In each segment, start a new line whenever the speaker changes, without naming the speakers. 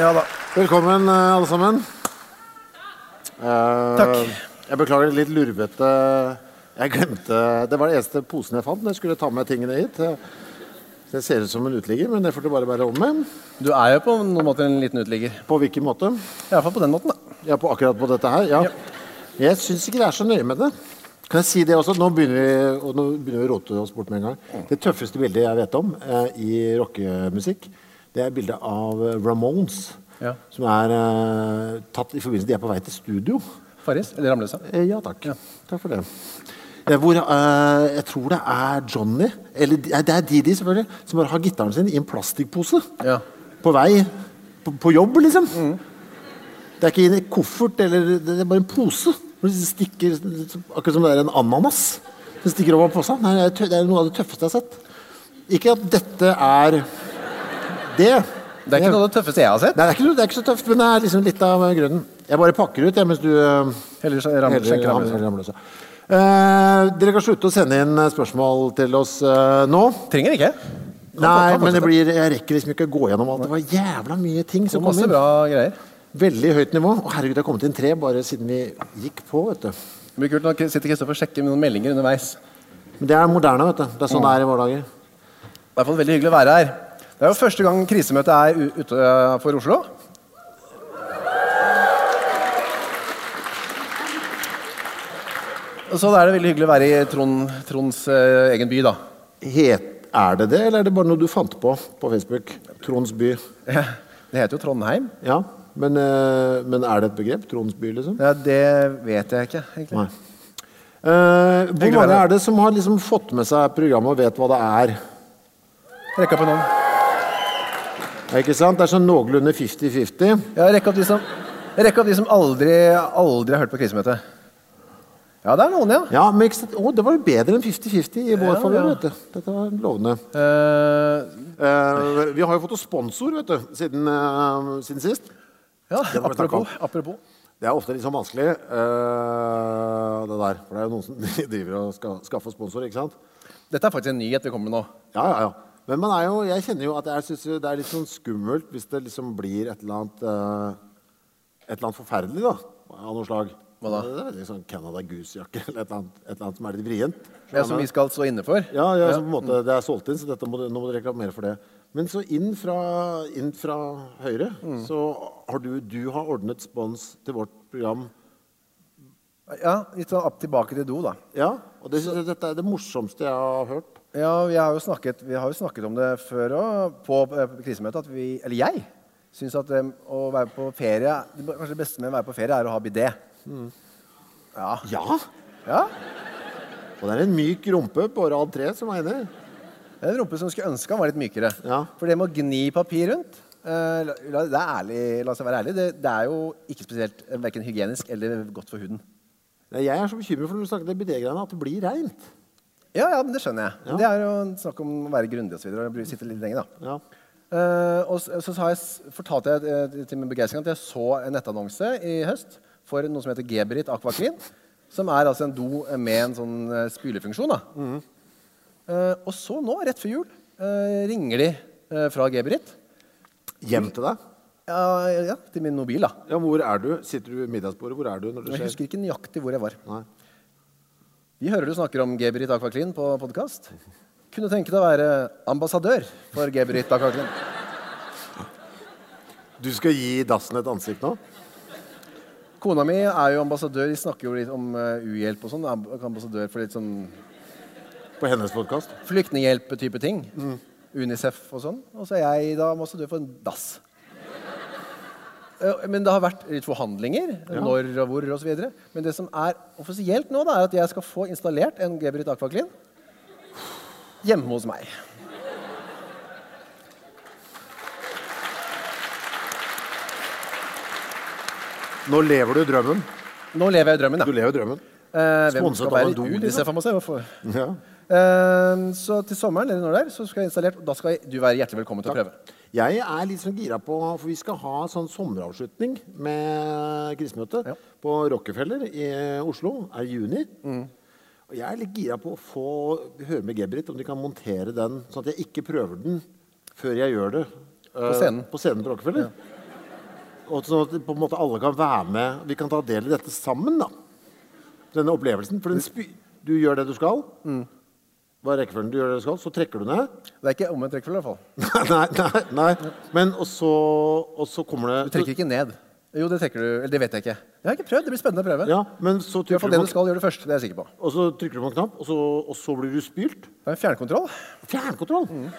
Ja da.
Velkommen, eh, alle sammen. Eh,
Takk.
Jeg beklager det litt lurvete Jeg glemte Det var den eneste posen jeg fant når jeg skulle ta med tingene hit. Eh, så Jeg ser ut som en uteligger, men det får du bare bære om med.
Du er jo på noen måter en liten uteligger.
På hvilken måte?
Iallfall på den måten, da.
Ja, på akkurat på dette her? Ja.
Ja.
Jeg syns ikke det er så nøye med det. Kan jeg si det også? Nå begynner vi, og nå begynner vi å rote oss bort med en gang. Det tøffeste bildet jeg vet om eh, i rockemusikk, det er bildet av eh, Ramones.
Ja.
Som er eh, tatt i forbindelse De er på vei til studio.
Farris? Eller Ramløsa?
Eh, ja takk. Takk for det. Eh, Hvor, eh, jeg tror det er Johnny, eller de- nei, det er Didi selvfølgelig, som bare har gitaren sin i en plastikkpose.
Ja.
På vei på, på jobb, liksom. Det er ikke i en koffert, eller, det er bare en pose. Hvor det stikker, akkurat som det er en ananas. Den stikker over posa. Nei, det er tø- det er noe av det tøffeste jeg har sett. Ikke at dette er det.
Det er ikke noe av det tøffeste jeg har sett.
Nei, det er ikke, noe- det er ikke så tøft, men det er liksom litt av eh, grunnen. Jeg bare pakker ut, jeg, mens du eh,
Heller så- Ram-
Heller
skjenker
ram-
Ramløsa.
Ramløsa. Eh, dere kan slutte å sende inn eh, spørsmål til oss eh, nå.
Trenger ikke.
Nei,
fortsette.
men det blir, jeg rekker liksom ikke å gå gjennom alt. Det var jævla mye ting
Så
som kom
masse
inn.
bra greier.
Veldig høyt nivå. Å, herregud, det har kommet inn tre bare siden vi gikk på, vet du.
Det blir kult når sitter Kristoffer og sjekker noen meldinger underveis.
Men det er moderne, vet du. Det er sånn det er i våre
Mm.
dager.
Det er i hvert fall veldig hyggelig å være her. Det er jo første gang krisemøtet er u- utenfor Oslo. Og så er det veldig hyggelig å være i Trond, Tronds eh, egen by, da.
Het, er det det, eller er det bare noe du fant på på Facebook? Tronds by.
Det heter jo Trondheim.
Ja, men, eh, men er det et begrep? Tronds by, liksom?
Ja, det vet jeg ikke, egentlig.
Nei. Eh, hvor
Hyggelig å være
mange
her.
er det som har liksom fått med seg programmet og vet hva det er?
Rekk opp en hånd.
Ja, Ikke sant? Det er sånn noenlunde 50-50.
Ja, rekk opp de som, rekk opp de som aldri, aldri har hørt på krisemøtet. Ja, det er noen, ja.
Ja, men ikke sant? Å, det var jo bedre enn 50-50 i vår
Ja,
favør,
ja.
vet du. Dette var lovende.
Eh,
Eh, vi har jo fått oss sponsor, vet du, siden, eh, siden sist.
ja,
Det må vi snakke om.
apropos, apropos.
Det er ofte litt sånn vanskelig, eh, det der. For det er jo noen som driver og skal skaffe sponsor, ikke sant?
Dette er faktisk en nyhet vi kommer med nå.
Ja, ja, ja. Men man er jo, jeg kjenner jo at jeg synes jo det er litt sånn skummelt hvis det liksom blir et eller annet, eh, et eller annet forferdelig da, av noe slag.
Hva da?
Det er litt sånn Canada Goose-jakke, eller et eller annet, et eller annet som er litt vrient.
Ja, som vi skal stå inne for.
Ja, ja, så på en måte, det er solgt inn, så dette må, du- nå må du reklamere for det. Men så inn fra, inn fra høyre, så har du, du har ordnet spons til vårt program.
Ja, litt sånn opp tilbake til do, da.
Ja, og det, synes jeg- dette er det morsomste jeg har hørt.
Ja, vi har jo snakket, vi har jo snakket om det før òg, på eh, krisemøtet, at vi Eller jeg syns at eh, å være på ferie det b- Kanskje det beste med å være på ferie er å ha bidé.
Mm.
Ja.
Ja,
ja.
og det er en myk rumpe på rad 3 som er inne.
Det er en rumpe som skulle ønske han var litt mykere.
Ja.
For det med å gni papir rundt eh, la, la- det er ærlig, La oss være ærlig, det, det er jo ikke spesielt eh, verken hygienisk eller godt for huden.
Nei, Jeg er så bekymret for når du snakker om det BD-greiene, at det blir rent.
Ja, ja, men det skjønner jeg. Men Det er jo en snakk om å være grundig og så videre, og bli- sitte litt lenger, da.
Ja.
Eh, og så, så har jeg, s- fortalte jeg eh, til min begeistring at jeg så en nettannonse i høst for noe som heter Geberit Aquaclean, som er altså en do med en sånn eh, spylefunksjon. Da. Eh, og så nå, rett før jul, eh, ringer de eh, fra Geberit.
Hjem til deg.
Ja, ja, til min mobil, da.
Ja, hvor er du? Sitter du ved middagsbordet? Hvor er du når det
Men Jeg
skjer?
husker ikke nøyaktig hvor jeg var.
Nei.
Vi hører du snakker om Geberit Aquaclean på podkast. Kunne tenke deg å være ambassadør for Geberit Aquaclean.
Du skal gi dassen et ansikt nå?
Kona mi er jo ambassadør, de snakker jo litt om eh, uhjelp og sånn. er Ambassadør for litt sånn
På hennes podcast?
flyktninghjelp-type ting. Unicef og sånn. Og så er jeg da ambassadør for en dass. Eh, Men det har vært litt forhandlinger. Når og hvor og så videre. Men det som er offisielt nå, da, er at jeg skal få installert en Geberit Aquaclean hjemme hos meg.
Nå lever du drømmen.
Nå lever jeg i drømmen,
Du
da.
lever drømmen.
Eh, hvem
Sponset
skal
av en
være
do, liksom?
Unicef? Jeg må se. Hvorfor?
Ja.
Eh, så til sommeren eller når det er, så skal jeg installert, og da skal jeg- du være hjertelig velkommen til å prøve.
Jeg er litt sånn gira på, for vi skal ha sånn sommeravslutning med krisemøtet
Ja.
på Rockefeller i Oslo, er i juni.
Mm.
Og jeg er litt gira på å få høre med Gebrit om de kan montere den, sånn at jeg ikke prøver den før jeg gjør det. eh,
scenen.
På scenen på Rockefeller. Og sånn at på en måte alle kan være med. Vi kan ta del i dette sammen, da. Denne opplevelsen.
Mm.
For den spy du gjør det du skal. Hva er rekkefølgen? Du gjør det du skal, så trekker du ned.
Det er ikke omvendt rekkefølge, i hvert fall.
nei, nei, nei. Men og så, og så kommer
Du
det
trekker ikke ned. Jo, det trekker du Eller det vet jeg ikke. Jeg har ikke prøvd. Det blir spennende å prøve.
Ja, men så
I hvert
trykker
fall det
du
du
på,
skal gjøre det først. Det er jeg sikker på.
og så trykker du på en knapp, og så, og så blir du spylt.
Det er en fjernkontroll.
Fjernkontroll!
Mm.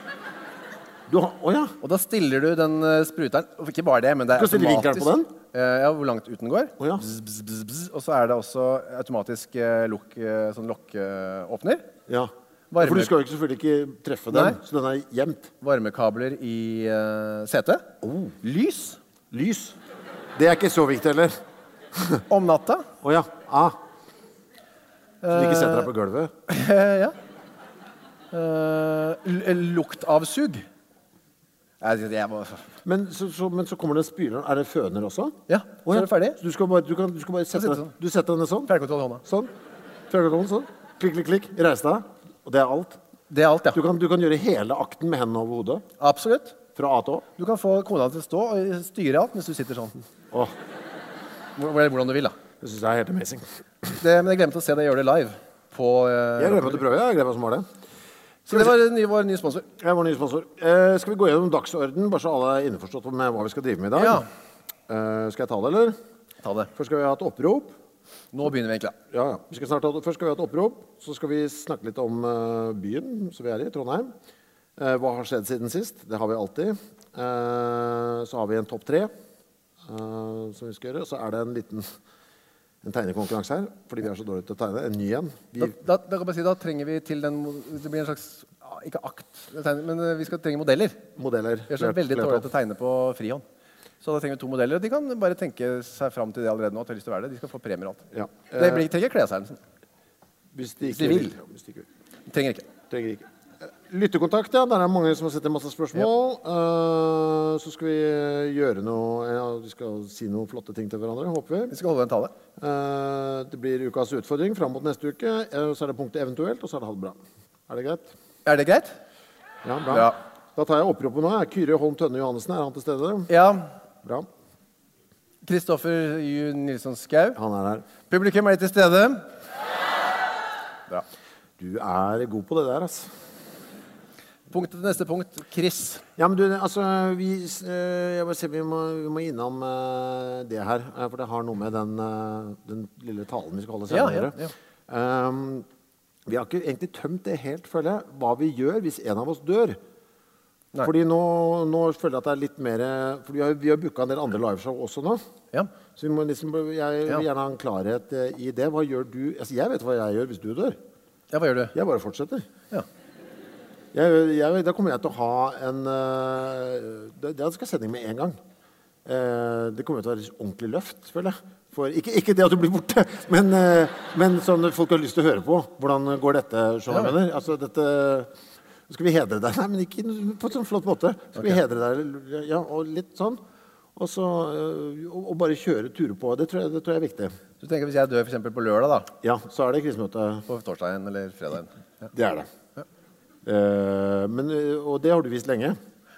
Du har, å ja.
Og da stiller du den eh, spruteren og Ikke bare det, men det er
Skal du stille vinkelen på
Eh, Ja, hvor langt ut den går.
Å ja.
Bzz, bzz, bzz, bzz. Og så er det også automatisk eh, lukk, eh, sånn lokkeåpner.
ja.
Varmer.
For du skal jo ikke- selvfølgelig ikke treffe den,
Nei.
så den er gjemt.
Varmekabler i eh, setet.
Oh.
Lys
Lys. Det er ikke så viktig heller.
om natta.
Å ja. Ah. Så du ikke setter
Eh.
deg på gulvet?
ja. Eh, l- luktavsug. Jeg, jeg må
Men så, så, men så kommer det en spyler. Er det føner også?
Ja,
Å
så er du ferdig.
Så du skal bare, du kan, du skal bare sette,
sitter
deg-
sånn.
du setter deg ned sånn?
Fjernkontroll i hånda.
Sånn. Fjernkontrollen sånn. Klikk, klikk, klikk. Reis deg. Og det er alt.
Det er alt,
Du
ja.
kan, du kan gjøre hele akten med hendene over hodet.
Absolutt.
Fra A til Å.
Du kan få kona til å stå og styre alt mens du sitter sånn.
Åh,
Hvor- Hvordan du vil, da.
det syns jeg er helt amazing.
Det, men jeg glemte å se deg gjøre det live. På, eh,
Jeg gleder meg til å prøve. Jeg gleder meg som har det.
så det var ny, vår nye sponsor.
Jeg er vår nye sponsor. Eh, skal vi gå gjennom dagsorden, bare så alle er innforstått med hva vi skal drive med i dag?
Ja.
Eh, skal jeg ta det, eller?
Ta det.
Først skal vi ha et opprop.
Nå begynner vi egentlig. ja.
Ja, ja. Vi skal snart ha, først skal vi ha et opprop, så skal vi snakke litt om eh, byen som vi er i, Trondheim. Eh, hva har skjedd siden sist? Det har vi alltid. Eh, så har vi en topp tre eh, som vi skal gjøre. Så er det en liten en tegnekonkurranse her, fordi vi er så dårlige til å tegne. En ny en. Vi,
Da, da, da, kan jeg bare si, da trenger vi til den mo- Det blir en slags ja, Ikke akt, det tegner- men eh, vi skal trenge modeller.
modeller.
Vi er så veldig dårlige til å tegne på frihånd. Så da trenger vi to modeller. og De kan bare tenke seg fram til det allerede nå. at De har lyst til å være det. De skal få premier og alt.
Ja.
Det blir, trenger ikke klesherren.
Hvis de
de
ikke
vil.
vil. ja, Hvis de ikke vil.
Trenger ikke.
Trenger ikke. Eh, Lyttekontakt, ja. Der er det mange som har sett en masse spørsmål. Eh, så skal vi gjøre noe ja, Vi skal si noen flotte ting til hverandre, håper vi.
Vi skal holde en tale.
Eh, det blir ukas utfordring fram mot neste uke. eh, så er det punktet eventuelt, og så er det ha det bra. Er det greit?
Er det greit?
Ja, bra.
Bra.
Da tar jeg oppropet nå. jeg. Kyrre Holm Tønne Johannessen, er han til stede?
Ja.
Bra.
Kristoffer Ju Nilsson Skau.
Han er her.
Publikum er de til stede? Bra.
Du er god på det der, altså.
Punktet til neste punkt. Chris.
Ja, men du, altså, vi, s- eh, jeg bare ser, vi, må, vi må innom eh, det her, eh, for det har noe med den, eh, den lille talen vi skal holde senere.
Ja, ja,
å gjøre. Ehm, vi har ikke egentlig tømt det helt, føler jeg, hva vi gjør hvis en av oss dør.
Nei.
Fordi nå, nå føler jeg at det er litt mer eh, For vi har, vi har booka en del andre liveshow også nå.
Ja.
Så vi må liksom, jeg
Ja.
vil gjerne ha en klarhet eh, i det. Hva gjør du? Altså, jeg vet hva jeg gjør hvis du dør.
ja, hva gjør du?
Jeg bare fortsetter.
Ja.
Jeg, jeg, da kommer jeg til å ha en eh, det, det skal jeg sende inn med en gang. Eh, det kommer til å være et ordentlig løft, føler jeg. For, ikke, ikke det at du blir borte, men, eh, men sånn at folk har lyst til å høre på. Hvordan går dette, skjønner du hva jeg mener? Altså, dette nå skal vi hedre deg? Nei, men ikke på en sånn flott måte. Skal vi hedre deg? Ja, og litt sånn. Og så eh, og, og bare kjøre turer på. Det tror, jeg, det tror jeg er viktig.
Du tenker hvis jeg dør for eksempel på lørdag, da.
Ja, så er det krisemøte.
På torsdagen eller fredagen. Ja.
Det er det. Eh, men, eh, og det har du visst lenge.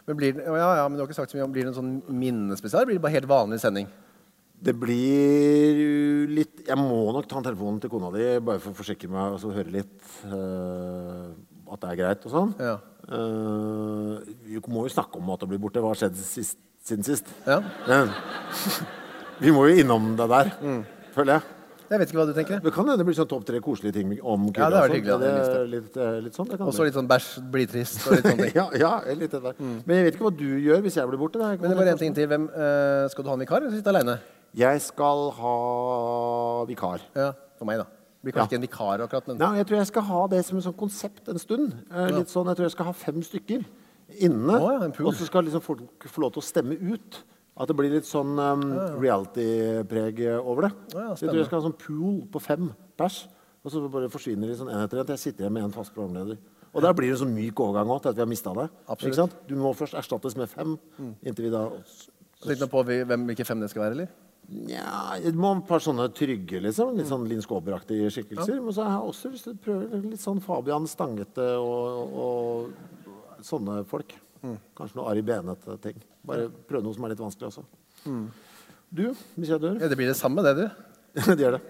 Men blir det, å, ja, ja, men du har ikke sagt så mye om Blir det en sånn minnespesial? eller Blir det bare helt vanlig sending?
Det blir jo litt Jeg må nok ta en telefonen til kona di bare for å forsikre meg og så høre litt eh, at det er greit og sånn.
Ja.
Eh, vi må jo snakke om at det blir borte. Hva har skjedd sist, siden sist?
Ja.
Eh, vi må jo innom det der,
Mm.
føler jeg.
Jeg vet ikke hva du tenker.
Det kan hende det blir sånn topp tre koselige ting om
Ja, det
og
er veldig
sånt.
hyggelig,
Det
ja,
er litt, eh, litt sånn, det kan
Og så
det.
litt sånn bæsj, blidtrist og litt sånne ting. Mm.
ja, ja, litt det der. Men jeg vet ikke hva du gjør hvis jeg blir borte. Det er-
Men det var en ting til. Hvem, eh, skal du ha en vikar eller sitte aleine?
Jeg skal ha vikar.
Ja, for meg, da. Det blir
Ja.
kanskje ikke en vikar akkurat, men
Nei, jeg tror jeg skal ha det som en sånn konsept en stund. Eh, Litt sånn, jeg tror jeg skal ha fem stykker inne.
Å, ja, en pool.
og så skal liksom folk få lov til å stemme ut. At det blir litt sånn um, reality-preg over det.
Å, ja,
Så jeg tror jeg skal ha en sånn pool på fem pers. Og så bare forsvinner de sånn en etter en til jeg sitter igjen med en fast programleder. Og der blir det en sånn myk overgang òg, til at vi har mista det.
Absolutt. Mm.
Ikke sant? Du må først erstattes med fem. Inntil vi da
Så tenkte jeg på vi- hvem, hvilke fem det skal være, eller?
Nja, det må et par sånne trygge, liksom. Litt sånn Linn Skåber-aktige skikkelser. Men så har jeg også lyst til å prøve litt sånn Fabian Stangete og,
Mm.
og
Mm.
sånne folk. Kanskje noe Ari Benete-ting. Bare prøve noe som er litt vanskelig også. Du, hvis jeg dør?
Ja, det blir det samme, det, du.
De gjør det.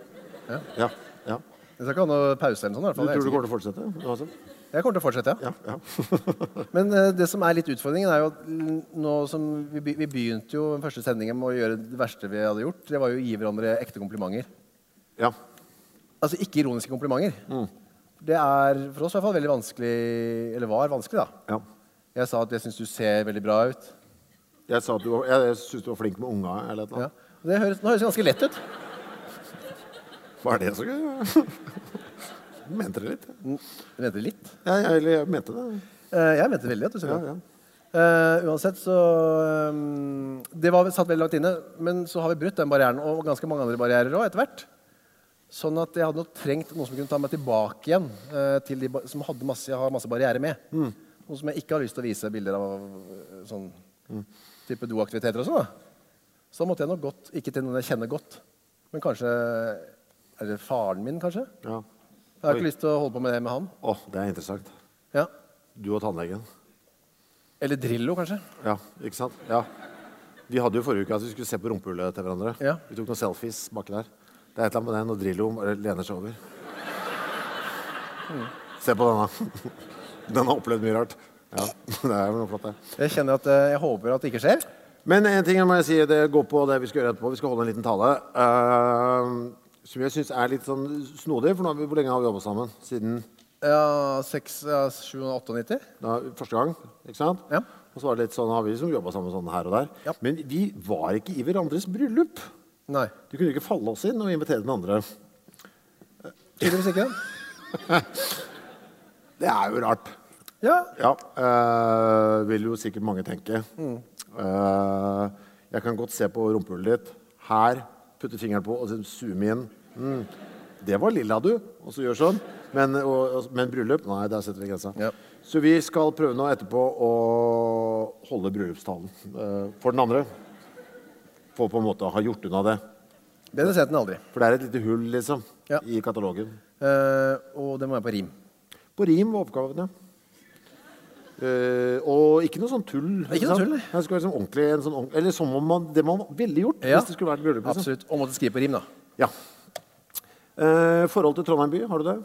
Ja.
Ja. ja.
Jeg skal ikke ha noe pause eller noe sånt. i hvert fall.
Du tror
Jeg,
du kommer til å fortsette?
er
uansett?
sikker. jeg kommer til å fortsette, ja.
Ja. ja.
Men eh, det som er litt utfordringen, er jo at l- nå som vi, be- vi begynte jo den første sendingen med å gjøre det verste vi hadde gjort. Det var jo å gi hverandre ekte komplimenter.
ja.
Altså ikke ironiske komplimenter. Det er for oss i hvert fall veldig vanskelig, eller var vanskelig, da.
ja.
Jeg sa at jeg syns du ser veldig bra ut.
Jeg sa at du var, jeg, jeg synes du var flink med unga. Eller et eller
Ja.
annet.
Det høres, nå høres det ganske lett ut.
Hva er det så gøy? mente det litt.
Mm, Jeg mente litt.
Ja, jeg, eller jeg mente det.
Eh, Jeg mente veldig at du ser
Ja,
bra ut.
ja.
Eh, uansett så um, Det var satt veldig langt inne, men så har vi brutt den barrieren, og ganske mange andre barrierer òg, etter hvert. Sånn at jeg hadde nok trengt noen som kunne ta meg tilbake igjen eh, til de ba- som hadde masse, jeg har masse barrierer med.
Mm.
Noen som jeg ikke har lyst til å vise bilder av eh, sånn
Mm.
type doaktiviteter og sånn. da. Så da måtte jeg nok gått, ikke til noen jeg kjenner godt, men kanskje Er det faren min, kanskje?
ja.
Jeg har
Oi.
ikke lyst til å holde på med det med han.
Å, det er interessant.
Ja.
Du og tannlegen.
Eller Drillo, kanskje.
Ja, ikke sant? Ja. Vi hadde jo forrige uke at vi skulle se på rumpehullet til hverandre.
Ja.
Vi tok noen selfies baki der. Det er et eller annet med det når Drillo bare lener seg over. Se på denne. Den har opplevd mye rart. Ja, det er vel noe flott det.
Jeg kjenner at eh, jeg håper at det ikke skjer.
Men en ting jeg må si, det går på det vi skal gjøre etterpå. Vi skal holde en liten tale. eh, som jeg syns er litt sånn snodig, for nå har vi, hvor lenge har vi jobba sammen? Siden
Ja, 6, ja, 798.
da, første gang, ikke sant?
Ja.
Og så var det litt sånn, har vi liksom jobba sammen sånn her og der.
Ja.
Men vi var ikke i hverandres bryllup.
Nei,
Du kunne ikke falle oss inn og invitere den andre.
tydeligvis ikke.
Det er jo rart.
Ja,
Ja, eh, vil jo sikkert mange tenke. Eh, jeg kan godt se på rumpehullet ditt. Her, putte fingeren på og så zoome inn. Mm. Det var lilla, du. Og så gjør sånn. Men, og, og, men bryllup? Nei, der setter vi grensa.
Ja.
Så vi skal prøve nå etterpå å holde bryllupstalen eh, for den andre. For på en måte å ha gjort unna det.
bedre sent enn aldri.
For det er et lite hull, liksom,
Ja.
i katalogen.
Eh, og det må være på rim.
På rim var oppgavene. Eh, og ikke noe sånn tull.
Ikke noe
sant?
tull, nei.
Det skulle være sånn ordentlig, en sånn ordentlig, eller som om man, det man ville gjort
Ja,
hvis det skulle vært bryllup. Liksom.
Absolutt. Og måtte skrive på rim, da.
Ja. Eh, forhold til Trondheim by, har du det?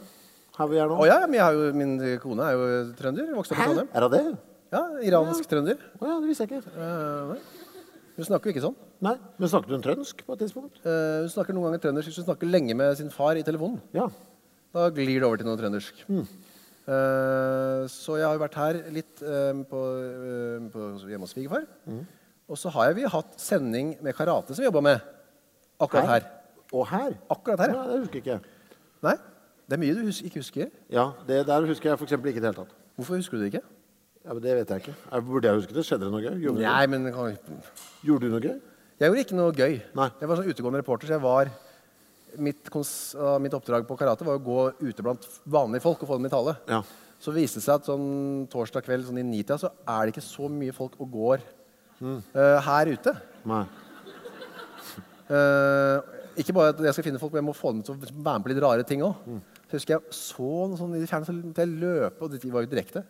Her vi er nå?
Å ja, men jeg har jo, min kone er jo trønder. Vokste opp i
Hæ?
Trondheim.
Er det det?
Ja, Iransk trønder.
Å ja, det visste jeg ikke.
Eh, nei. hun snakker jo ikke sånn.
Nei, Men snakket hun trønsk på et tidspunkt?
Eh, hun snakker noen ganger trøndersk. Hun snakker lenge med sin far i telefonen.
Ja.
Da glir det over til noe trøndersk.
Mm.
Eh, så jeg har jo vært her litt eh, på, eh, på hjemme hos svigerfar.
Mm.
Og så har jeg, vi hatt sending med karate som vi jobba med. Akkurat her.
Og her?
Akkurat her,
ja.
ja.
Det husker ikke jeg.
Nei, det er mye du hus ikke husker.
Ja, det der husker jeg for eksempel ikke i det hele tatt.
Hvorfor husker du det ikke?
Ja, men det vet jeg ikke. Jeg, burde jeg huske det? Skjedde det noe gøy? Gjorde,
Nei, men det kan-
du, gjorde du noe gøy?
Jeg gjorde ikke noe gøy.
Nei.
Jeg var sånn utegående reporter, så jeg var Mitt, kons, ah, mitt oppdrag på karate var å gå ute blant vanlige folk og få dem i tale.
Ja.
Så viste det seg at sånn torsdag kveld sånn i nitida så er det ikke så mye folk og går eh, her ute.
Nei.
Eh, ikke bare at jeg skal finne folk, men jeg må få dem til å være med på litt rare ting òg. Så husker jeg så noe sånn i det fjerne, så måtte jeg løpe, og det var jo direkte.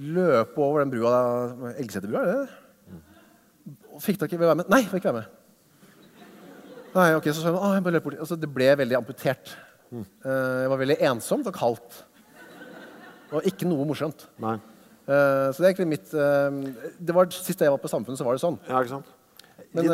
Løpe over den brua, der, Elgeseterbrua, er det det? Og fikk dere ikke være med? Nei, fikk ikke være med. Nei, ok, så sa hun, «Å, jeg bare løp bort. Altså, det ble veldig amputert. Eh, det var veldig ensomt og kaldt. Og ikke noe morsomt.
Nei.
Eh, så det er egentlig mitt eh, det var, Sist jeg var på Samfunnet, så var det sånn.
Ja, ikke sant?
Men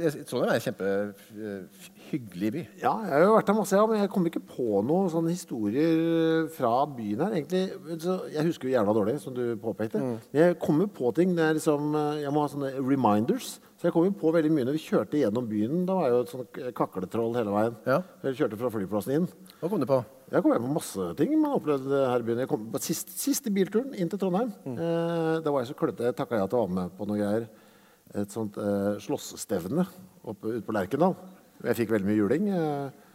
eh, jeg- Trondheim er en kjempehyggelig by.
Ja, jeg har jo vært der masse, ja, men jeg kom ikke på noen sånne historier eh, fra byen her, egentlig. Men Så jeg husker jo jævla dårlig, som du påpekte. Men Jeg kommer på ting når jeg liksom eh, Jeg må ha sånne reminders. Så jeg kom jo på veldig mye når vi kjørte gjennom byen. Da var jeg jo et sånt kakletroll hele veien.
Ja.
Jeg kjørte fra flyplassen inn.
Hva kom du på?
Jeg kom hjem på masse ting man opplevde her i byen. Jeg kom på sist, siste bilturen inn til Trondheim. Eh, da var jeg så klønete. Jeg takka ja til å være med på noe greier. Et sånt eh, slåssstevne oppe ute på Lerkendal. Jeg fikk veldig mye juling. Eh,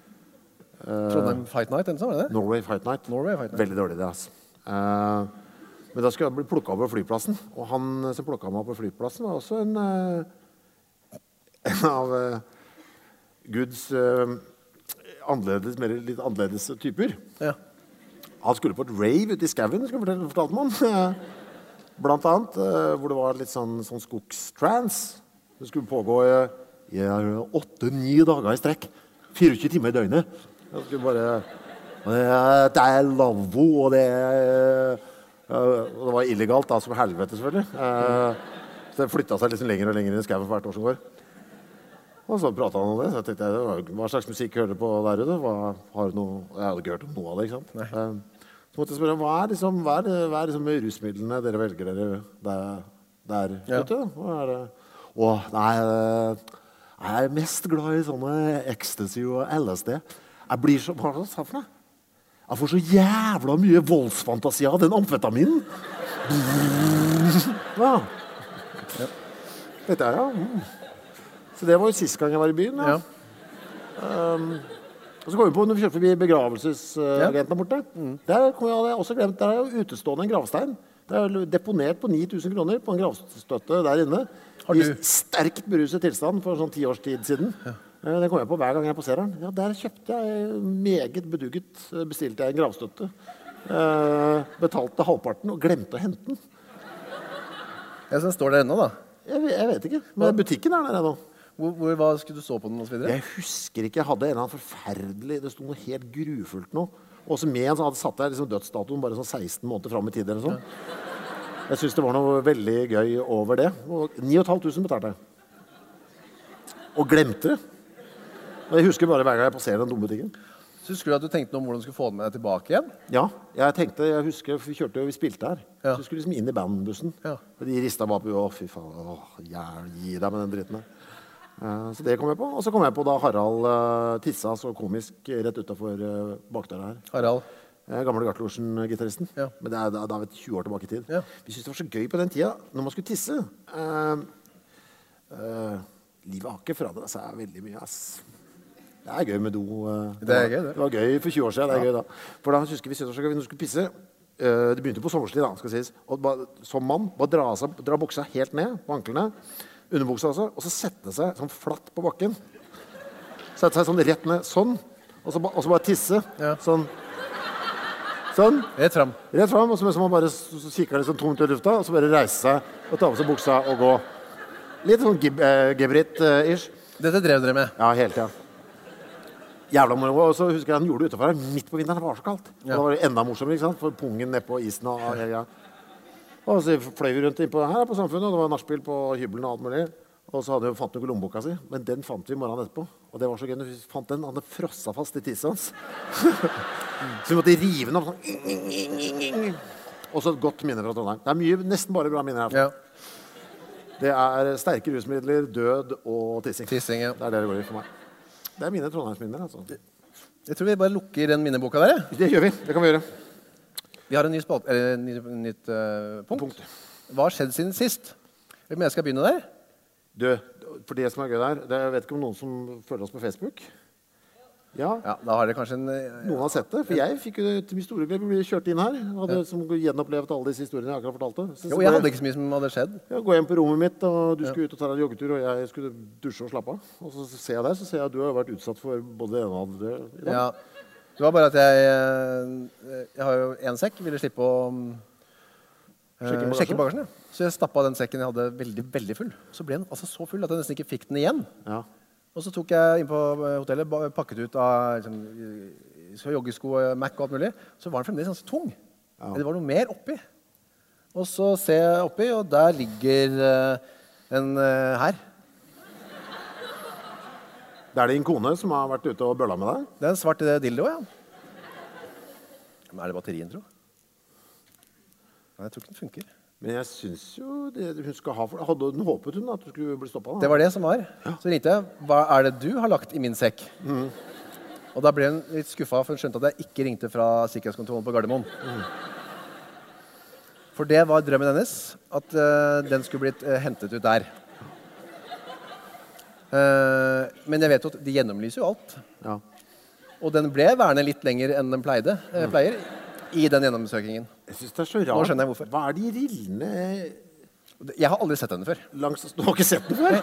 Trondheim Fight Night? eller noe sånt, var det det?
Norway Fight Night.
Norway Fight Night.
Veldig dårlig, det, altså. Eh, men da skulle jeg bli plukka opp på flyplassen. Og han som plukka meg opp på flyplassen, var også en, eh, en av eh, Guds eh, annerledes, mer litt annerledes typer.
Ja.
Han skulle på et rave ute i skauen, skulle fortelle, fortalte man. Blant annet eh, hvor det var litt sånn, sånn skogstrans. Det skulle pågå eh, Jeg har åtte-ni dager i strekk. 24 timer i døgnet. Jeg skulle bare... Og Det er, det er lavvo, og det er... eh, og Det var illegalt da, som helvete selvfølgelig. Eh, Så det flyttet seg liksom lenger og lenger i skauen for hvert år som går. Og så pratet han om det, så jeg tenkte jeg, hva slags musikk hører du på der ute? Hva, har du noe? Jeg hadde ikke hørt om noe av det, ikke sant? Eh, Så måtte jeg spørre, hva er, liksom, hva er, hva er liksom rusmidlene dere velger dere der, der
Ja.
ute? Hva er det? Åh, nei, eh, jeg er mest glad i sånne ecstasy og LSD. Jeg blir så, hva er det han sa for noe? Jeg får så jævla mye voldsfantasi av den amfetaminen. Ja. Dette er, ja. Mm. Så det var jo sist gang jeg var i byen. Ja.
Ja.
Og så kom vi på når vi kjørte forbi begravelsesagenten der borte. Mm. Der kom jeg, hadde jeg også glemt, der er jo utestående en gravstein. Det er jo deponert på 9000 kroner på en gravstøtte der inne.
Har du-
I sterkt beruset tilstand for sånn ti års tid siden. Eh, Den kommer jeg på hver gang jeg passerer den. Ja, der kjøpte jeg eh, meget bedugget eh, bestilte jeg en gravstøtte. Eh, betalte halvparten og glemte å hente den.
Ja, så den står der ennå, da.
Jeg, ve- jeg vet ikke. Men butikken er der ennå.
Hvor, hvor, hva skulle du så på den, og så videre?
Jeg husker ikke. Jeg hadde en eller annen forferdelig Det sto noe helt grufullt nå. Også med en som hadde satt der liksom dødsdatoen bare sånn 16 måneder fram i tid. eller sånn. Jeg syns det var noe veldig gøy over det. Og 9500 betalte jeg. Og glemte det. Og Jeg husker bare hver gang jeg passerer den dumme butikken.
Så husker du at du tenkte noe om hvordan du skulle få den med deg tilbake igjen?
Ja, jeg tenkte, jeg husker vi kjørte jo, vi spilte her.
Ja.
Så vi skulle liksom inn i bandbussen.
Ja.
Og de rista bare på huet. Å, fy faen. Åh, jævl, gi deg med den dritten der. Eh, så det kom jeg på. Og så kom jeg på da Harald eh, tissa så komisk rett utafor uh, bakdøra her.
Harald.
Eh, gamle Gartlorsen-gitaristen.
Ja.
Men det er, det er da vet jeg, 20 år tilbake i tid.
Ja.
Vi syntes det var så gøy på den tida, når man skulle tisse. eh, eh, livet har ikke forandra seg veldig mye, ass. Det er gøy med do. eh.
Det er gøy, det.
det var gøy for 20 år siden. Det er gøy, da. For da husker vi syntes det var så gøy når vi skulle pisse. eh, det begynte på sommerstid, da, skal sies. Og bare, som mann, bare dra, av seg, dra buksa helt ned på anklene. Underbuksa også. Og så sette seg sånn flatt på bakken. Sette seg sånn rett ned. Sånn. Og så, ba, og så bare tisse.
Ja.
Sånn. Sånn.
Rett fram.
Rett fram, og så mens man bare s- s- kikker litt sånn tomt i lufta, og så bare reise seg og ta på seg buksa og gå. Litt sånn gib eh, gebrit-ish.
Dette drev dere med.
ja, hele tida. Jævla moro. Og så husker jeg han gjorde det utafor her midt på vinteren. Det var så kaldt. Og
Ja.
Da var det enda morsommere, ikke sant? For pungen nedpå isen og hele greia. Og så fløy vi rundt innpå her på Samfunnet, og det var nachspiel på hybelen og alt mulig. Og så hadde vi, fant vi ikke lommeboka si, men den fant vi morgenen etterpå. Og det var så gøy når vi fant den. Han hadde frossa fast i tisset hans. så vi måtte rive den opp sånn. Også et godt minne fra Trondheim. Det er mye, nesten bare bra minner her.
Ja.
Det er sterke rusmidler, død og tissing.
Tissing, ja.
Det er det det går i for meg. Det er mine trondheimsminner. altså.
Jeg tror vi bare lukker den minneboka der. jeg.
Det gjør vi. Det kan vi gjøre.
Vi har en ny spalt, eller, en ny, nytt eh, punkt.
Punkt.
Hva har skjedd siden sist? Hvem er det som skal begynne der?
Du, for det som er gøy der, det, jeg vet ikke om noen som følger oss på Facebook? Ja,
Ja, Da har dere kanskje en eh,
noen har sett det. For jeg fikk jo til min store glede bli kjørt inn her. Hadde som gjenopplevd alle disse historiene jeg akkurat fortalte. Så-
Jo, jeg hadde ikke så mye som hadde skjedd.
Ja, gå hjem på rommet mitt, og du skulle ut og ta deg en joggetur, og jeg skulle dusje og slappe av. Og så ser jeg deg, så ser jeg at du har jo vært utsatt for både det ene og det andre. i dag.
Ja. Det var bare at jeg eh, Jeg har jo én sekk. Ville slippe å mm, eh,
Sjekke bagasjen?
sjekke bagasjen. Ja. Så jeg stappa den sekken jeg hadde, veldig veldig full. Så ble den altså så full at jeg nesten ikke fikk den igjen.
Ja.
Og så tok jeg inn på eh, hotellet, ba- pakket ut av liksom, eh, så joggesko, eh, Mac og alt mulig. Så var den fremdeles ganske tung.
Ja.
Det var noe mer oppi. Og så ser jeg oppi, og der ligger eh, en eh, her.
Det er din kone som har vært ute og bølla med deg.
Det er en svart eh, dildo, ja. Men er det batterien, tro? Nei, jeg tror ikke den funker.
Men jeg syns jo det hun skal ha for det. Hadde hun håpet hun at du skulle bli stoppa?
Det var det som var. Så ringte jeg. Hva er det du har lagt i min sekk? Og da ble hun litt skuffa, for hun skjønte at jeg ikke ringte fra sikkerhetskontrollen på Gardermoen. For det var drømmen hennes, at eh, den skulle blitt eh, hentet ut der. Eh, men jeg vet jo at de gjennomlyser jo alt.
Ja.
Og den ble værende litt lenger enn den pleide, eh, pleier i den gjennomsøkingen.
Jeg syns det er så rart.
Nå skjønner jeg hvorfor.
Hva er de rillene
Og det- Jeg har aldri sett henne før.
langs Du har ikke sett den før?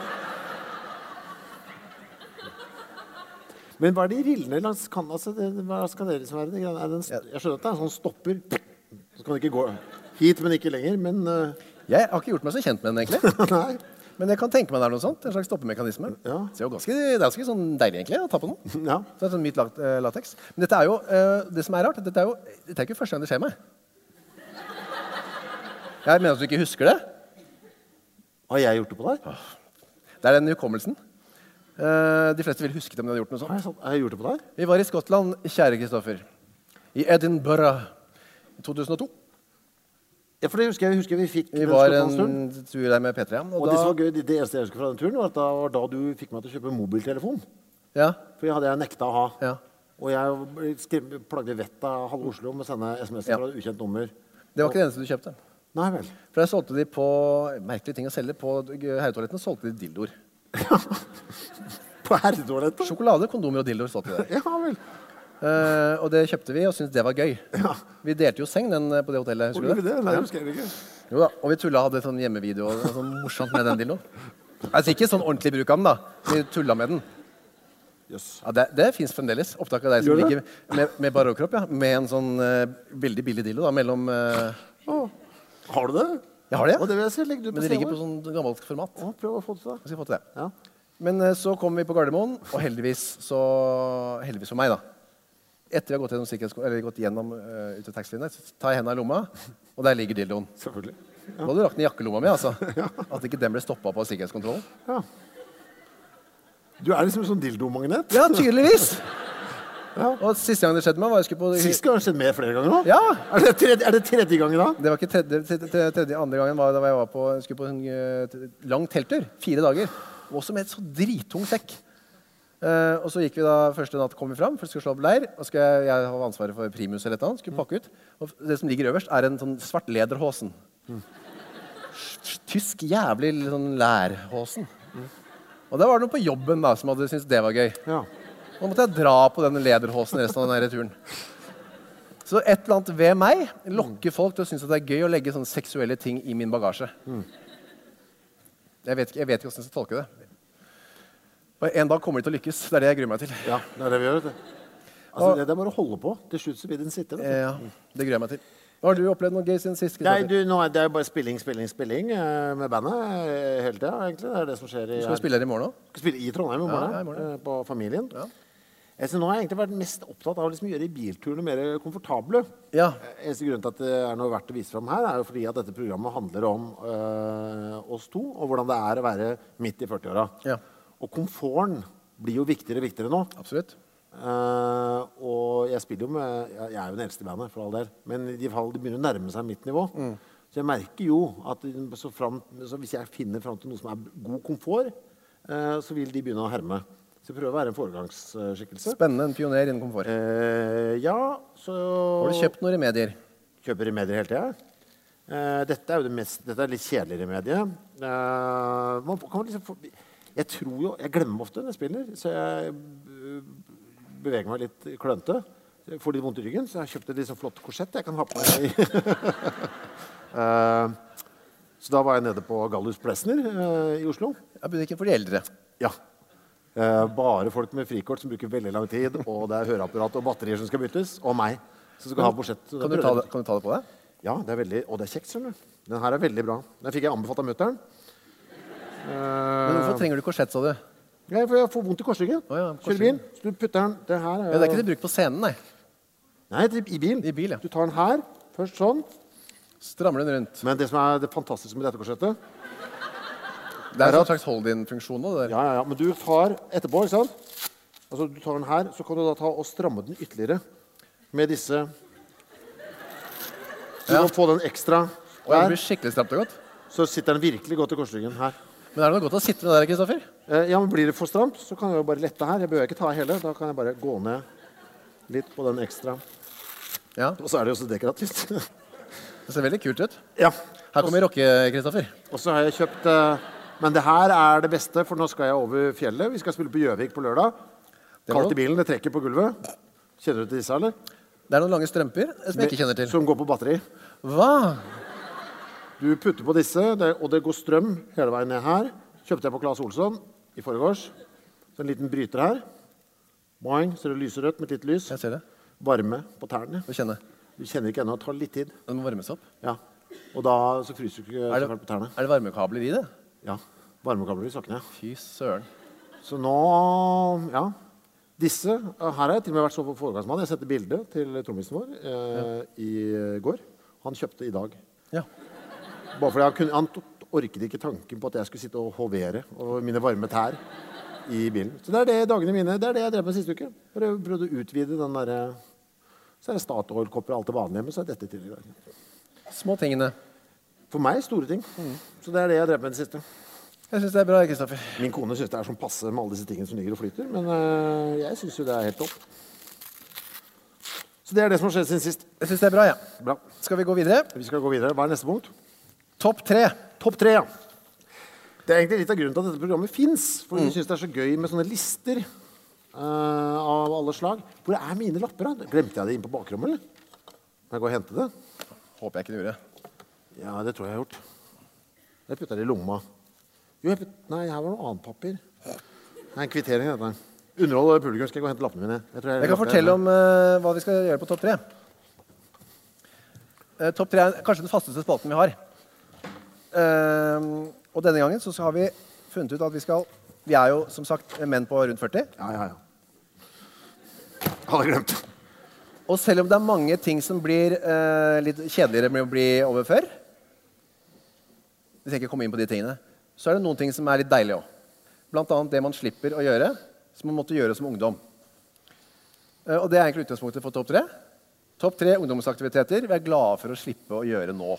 Men hva er de rillene langs kan, altså, det, Hva skal det liksom være? Det, greiene? er det en, st- jeg skjønner at det er en sånn stopper Så kan det ikke gå hit, men ikke lenger. Men eh,
Jeg har ikke gjort meg så kjent med henne, egentlig.
Nei.
Men jeg kan tenke meg det er noe sånt. En slags stoppemekanisme.
Ja.
Så Det er jo ganske, det er ganske sånn deilig egentlig å ta på den.
Ja.
Så det er sånn mykt lak- eh, latex. Men dette er jo, eh, det som er rart, dette er jo dette er ikke første gang det skjer meg. Jeg mener at du ikke husker det.
Har jeg gjort det på deg?
Det er den hukommelsen. Eh, de fleste ville husket om de hadde gjort noe sånt.
Har jeg, sant- har jeg gjort det på deg?
Vi var i Skottland, kjære Kristoffer. I Edinburgh i 2002.
Ja, for det husker jeg, husker jeg vi fikk
Vi
den
var
Skottlandsturen.
en tur der med P3. Og,
Og det
da,
som var gøy, det det eneste jeg husker fra den turen, var at da, var da du fikk meg til å kjøpe mobiltelefon.
ja,
For jeg hadde jeg nekta å ha.
Ja.
Og jeg ble skrim- plagde vettet av halve Oslo med å sende SMS-er
Ja.
fra et ukjent nummer.
det var ikke det eneste du kjøpte.
Nei vel.
For der solgte de på merkelige ting å selge. På herretoaletten solgte de dildoer.
På herretoalettet?
Sjokolade, kondomer og dildoer solgte de der.
Ja vel.
Eh, og det kjøpte vi og syntes det var gøy.
Ja.
Vi delte jo seng den, eh, på det hotellet.
Gjorde
husker du
vi
det?
det? Nei, det husker jeg ikke.
Jo da, Og vi tulla hadde sånn hjemmevideo og det var sånn morsomt med den dildoen. Altså ikke sånn ordentlig bruk av den, da. Vi tulla med den.
Jøss.
Ja, Det, det fins fremdeles. Opptak av deg som
Gjør det?
ligger med, med bare overkropp. Ja. Med en sånn eh, veldig billig dildo da, mellom eh,
Har du det?
Jeg har det, ja.
Og det vil jeg se. Legg det ut
Men
på
det ligger på
scenen.
sånn gammelt format.
Å, Prøv å få det til
Jeg
deg.
skal få til det.
Ja.
Men eh, så kom vi på Gardermoen, og heldigvis, så, heldigvis for meg, da Etter vi har gått gjennom, sikkerhetskon- eller gått gjennom eh, ut av taxfree-en der, så tar jeg hendene i lomma, og der ligger dildoen.
Selvfølgelig.
Da hadde du lagt den i jakkelomma mi, altså. At ikke den ble stoppa på sikkerhetskontrollen.
Ja. Du er liksom en sånn dildomagnet.
Ja, tydeligvis!
Ja.
Og siste gang det skjedde meg, var jeg skulle på
Sist gang har det skjedd mer flere ganger nå.
Ja.
Er det tredje, er det tredje gangen da?
Det var ikke tredje, tredje, tredje, tredje andre gangen var da jeg var på, skulle på en eh, t- lang telttur. Fire dager. Også med et så drittung sekk. Eh, og så gikk vi da, første natt kom vi fram, for vi skulle slå opp leir. Og skulle jeg, jeg ha ansvaret for primus eller et eller annet. Skulle pakke ut. Og f- det som ligger øverst, er en sånn svart lederhosen. Tysk jævlig sånn lærhosen. Og da var det noen på jobben da, som hadde syntes det var gøy.
Ja.
Nå måtte jeg dra på den lederhosen resten av denne turen. Så et eller annet ved meg lokker folk til å synes at det er gøy å legge sånne seksuelle ting i min bagasje. Jeg vet ikke, jeg vet ikke hvordan jeg skal tolke det. Og en dag kommer de til å lykkes. Det er det jeg gruer meg til.
Ja, det er det vi gjør. vet du. Altså, det, det er bare å holde på. Til slutt så blir den sittende.
Eh, ja, det gruer jeg meg til. Har du opplevd noe gøy siden sist?
Nei,
Kristoffer?
du, nå er det er jo bare spilling, spilling, spilling eh, med bandet eh, hele tida, egentlig. Det er det som skjer i
Skal vi spille her i morgen òg?
Skal spille i Trondheim i morgen,
Ja, ja, i morgen,
eh, på Familien.
Ja.
Eh, Så nå har jeg egentlig vært mest opptatt av å liksom gjøre bilturene mer komfortable.
Ja.
Eh, Eneste grunnen til at det er noe verdt å vise fram her, er jo fordi at dette programmet handler om eh, oss to, og hvordan det er å være midt i 40-åra.
Ja.
Og komforten blir jo viktigere og viktigere nå.
Absolutt.
Eh, og jeg spiller jo med Jeg jeg er jo den eldste i bandet, for all del. Men i de fall de begynner å nærme seg mitt nivå.
Mm.
Så jeg merker jo at så fram, så hvis jeg finner fram til noe som er god komfort, eh, så vil de begynne å herme. Så jeg prøver å være en foregangsskikkelse.
Spennende. En pioner innen komfort.
Eh, ja, så
Har du kjøpt noen remedier?
Kjøper remedier hele tida. Eh, dette er jo det mest Dette er litt kjedeligere remedie. Eh, man kan liksom få Jeg tror jo Jeg glemmer ofte når jeg spiller, så jeg eh, beveger meg litt klønete. Jeg Får litt vondt i ryggen, så jeg har kjøpt et litt sånn flott korsett jeg kan ha på meg. Eh, så da var jeg nede på Gallus Plesner eh, i Oslo.
Ja, Butikken for de eldre.
Ja. Eh, bare folk med frikort som bruker veldig lang tid, og det er høreapparat og batterier som skal byttes, og meg. som skal ha budsjett. Så da
Kan du
prøvde
ta
jeg-
det, kan du ta det på deg?
ja, det er veldig, og det er kjekt, skjønner du. Den her er veldig bra. Den fikk jeg anbefalt av mutter'n.
Men
Eh.
hvorfor trenger du korsett, sa du?
Jeg, får- Eh, jeg får vondt i korsryggen.
Eh, Å ja,
Kjører bil, så du putter den det her
Ja, det er ikke til bruk på scenen, nei.
Nei, det er i bil.
I bil, ja.
Du tar den her, først sånn.
Strammer den rundt.
Men det som er det fantastiske med dette korsettet
Det er en sånn slags hold-in-funksjon nå, det der.
Ja, ja, ja, men du tar etterpå, ikke sant? Altså, du tar den her, så kan du da ta og stramme den ytterligere med disse Du
Ja.
kan få den ekstra
Og det
der,
blir skikkelig stramt og godt.
så sitter den virkelig godt i korsryggen her.
Men er det noe godt å sitte med der, Kristoffer?
Eh, Ja, men Blir det for stramt, så kan jeg jo bare lette her. Jeg behøver ikke ta hele. Da kan jeg bare gå ned litt på den ekstra.
Ja,
Og så er det jo så dekorativt.
det ser veldig kult ut.
ja.
Her kommer rocke, Kristoffer.
Og så har jeg kjøpt eh, Men det her er det beste, for nå skal jeg over fjellet. Vi skal spille på Gjøvik på lørdag.
Det er
Kaldt
lov.
i bilen, det trekker på gulvet. Kjenner du til disse, eller?
Det er noen lange strømper eh, som jeg ikke kjenner til.
Som går på batteri.
Hva?
Du putter på disse, det, og det går strøm hele veien ned her. Kjøpte jeg på Claes Olsson i forgårs. Så en liten bryter her. Boing, så er det lyserødt med et lite lys.
Jeg ser det.
Varme på tærne.
Få kjenne.
Du kjenner ikke ennå. Det tar litt tid.
Den må varmes opp.
Ja. Og da så fryser du ikke
Er
så
det,
fælt på tærne.
er det varmekabler i det?
Ja. varmekabler i sokkene.
Fy søren.
Så nå Ja. Disse eh, Her har jeg til og med vært så foregangsmann. Jeg sendte bilde til trommisen vår eh, i går. Han kjøpte i dag.
Ja.
Bare fordi han, kunne, han t- orket ikke tanken på at jeg skulle sitte og hovere over mine varme tær i bilen. Så det er det dagene mine, det er det jeg drev med siste uke. Bare prøvde å utvide den derre Så er det Statoil-kopper og alt det vanlige, men så er dette i tillegg.
Små tingene.
For meg store ting. Så det er det jeg drev med i det siste.
Jeg syns det er bra, Kristoffer.
Min kone syns det er sånn passe med alle disse tingene som ligger og flyter, men øh, jeg syns jo det er helt topp. Så det er det som har skjedd siden sist.
Jeg synes det er bra, ja.
Bra.
Skal vi gå videre?
Vi skal gå videre. Hva er neste punkt?
Topp tre.
Topp tre, ja. Det er egentlig litt av grunnen til at dette programmet fins. For vi syns det er så gøy med sånne lister øh, av alle slag. Hvor er mine lapper, da? Glemte jeg det inn på bakrommet, eller? Må jeg gå og hente det?
Håper jeg ikke du gjorde.
Ja, det tror jeg jeg har gjort. Jeg putta det i lomma. Jo, jeg putt... Nei, her var noe annet papir. Det er en kvittering, dette. her. Underhold og publikum. Skal jeg gå og hente lappene mine? Jeg, tror
Jeg kan fortelle om eh, hva vi skal gjøre på topp tre. Eh, topp tre er kanskje den fasteste spalten vi har. Eh, og denne gangen så har vi funnet ut at vi skal Vi er jo som sagt menn på rundt 40.
Ja, ja, ja. Hadde glemt.
Og selv om det er mange ting som blir eh, litt kjedeligere med å bli over før Hvis jeg ikke kommer inn på de tingene, så er det noen ting som er litt deilige òg. Blant annet det man slipper å gjøre, som man måtte gjøre som ungdom. Eh, og det er egentlig utgangspunktet for topp tre. Topp tre ungdomsaktiviteter vi er glade for å slippe å gjøre nå.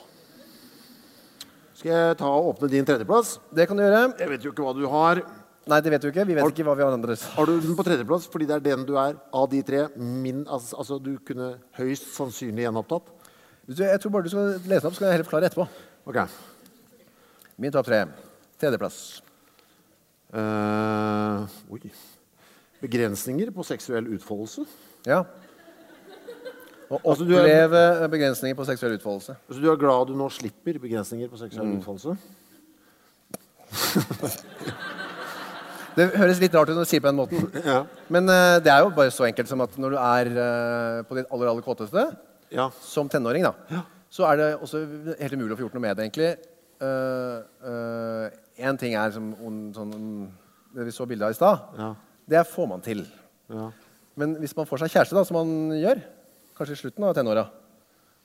Skal jeg ta og åpne din tredjeplass?
Det kan du gjøre.
Jeg vet jo ikke hva du har.
Nei, det vet du ikke. Vi vet ikke hva vi har andres.
Har du den på tredjeplass fordi det er den du er av de tre? Min, altså, altså du kunne høyst sannsynlig gjenopptatt?
Du, Jeg tror bare du skal lese den opp, så kan jeg heller forklare etterpå.
Ok.
Min topp tre. Tredjeplass.
Eh, oi. Begrensninger på seksuell utfoldelse.
Ja. Å
Altså, du er-
oppleve begrensninger på seksuell utfoldelse.
Altså, du er glad du nå slipper begrensninger på seksuell
Mm.
utfoldelse?
Det høres litt rart ut når du sier det på den måten.
Ja.
Men eh, det er jo bare så enkelt som at når du er eh, på ditt aller, aller kåteste,
ja.
som tenåring, da, så er det også helt umulig å få gjort noe med det, egentlig. Én ting er som on- sånn, det vi så bilde av i stad.
Ja.
Det får man til.
ja.
Men hvis man får seg kjæreste, da, som man gjør, kanskje i slutten av tenåra,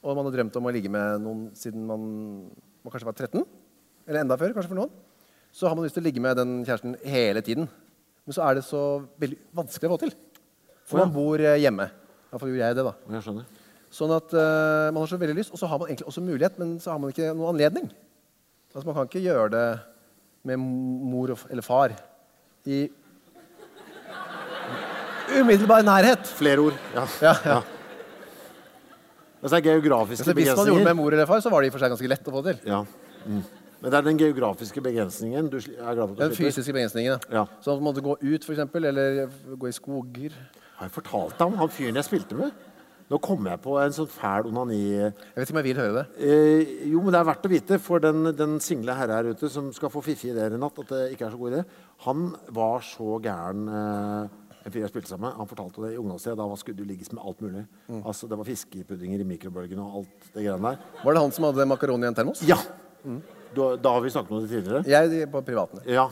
og man har drømt om å ligge med noen siden man, man kanskje var 13, eller enda før, kanskje for noen, så har man lyst til å ligge med den kjæresten hele tiden. Men så er det så veldig vanskelig å få til. For man bor eh, hjemme. Iallfall gjorde jeg det, da.
Jeg skjønner.
Sånn at eh, man har så veldig lyst, og så har man egentlig også mulighet, men så har man ikke noen anledning. Altså man kan ikke gjøre det med mor og, f- eller far i umiddelbar nærhet.
Flere ord. Ja.
Ja, ja.
Altså, det er geografiske
Så hvis man gjorde det
begrensninger.
med mor eller far, så var det i og for seg ganske lett å få til.
Ja. Mm. Men det er den geografiske begrensningen du sli- er glad for at
Den
du slipper?
fysiske begrensningen. da.
Ja.
Sånn at man måtte gå ut, for eksempel, eller gå i skoger.
Har jeg fortalt deg om han fyren jeg spilte med? Nå kom jeg på en sånn fæl onani...
Jeg vet ikke om jeg vil høre det.
Eh, jo, men det er verdt å vite for den, den single herre her ute som skal få fiffige ideer i natt, at det ikke er så god idé. Han var så gæren eh, en fyr jeg spilte sammen med. Han fortalte det i ungdomstida. Da var skulle du ligges med alt mulig. Altså, det var fiskepuddinger i mikrobølgen og alt det greiene der.
Var det han som hadde makaroni i en termos?
Ja! Da, da har vi snakket om det tidligere.
Jeg på privaten.
Ja.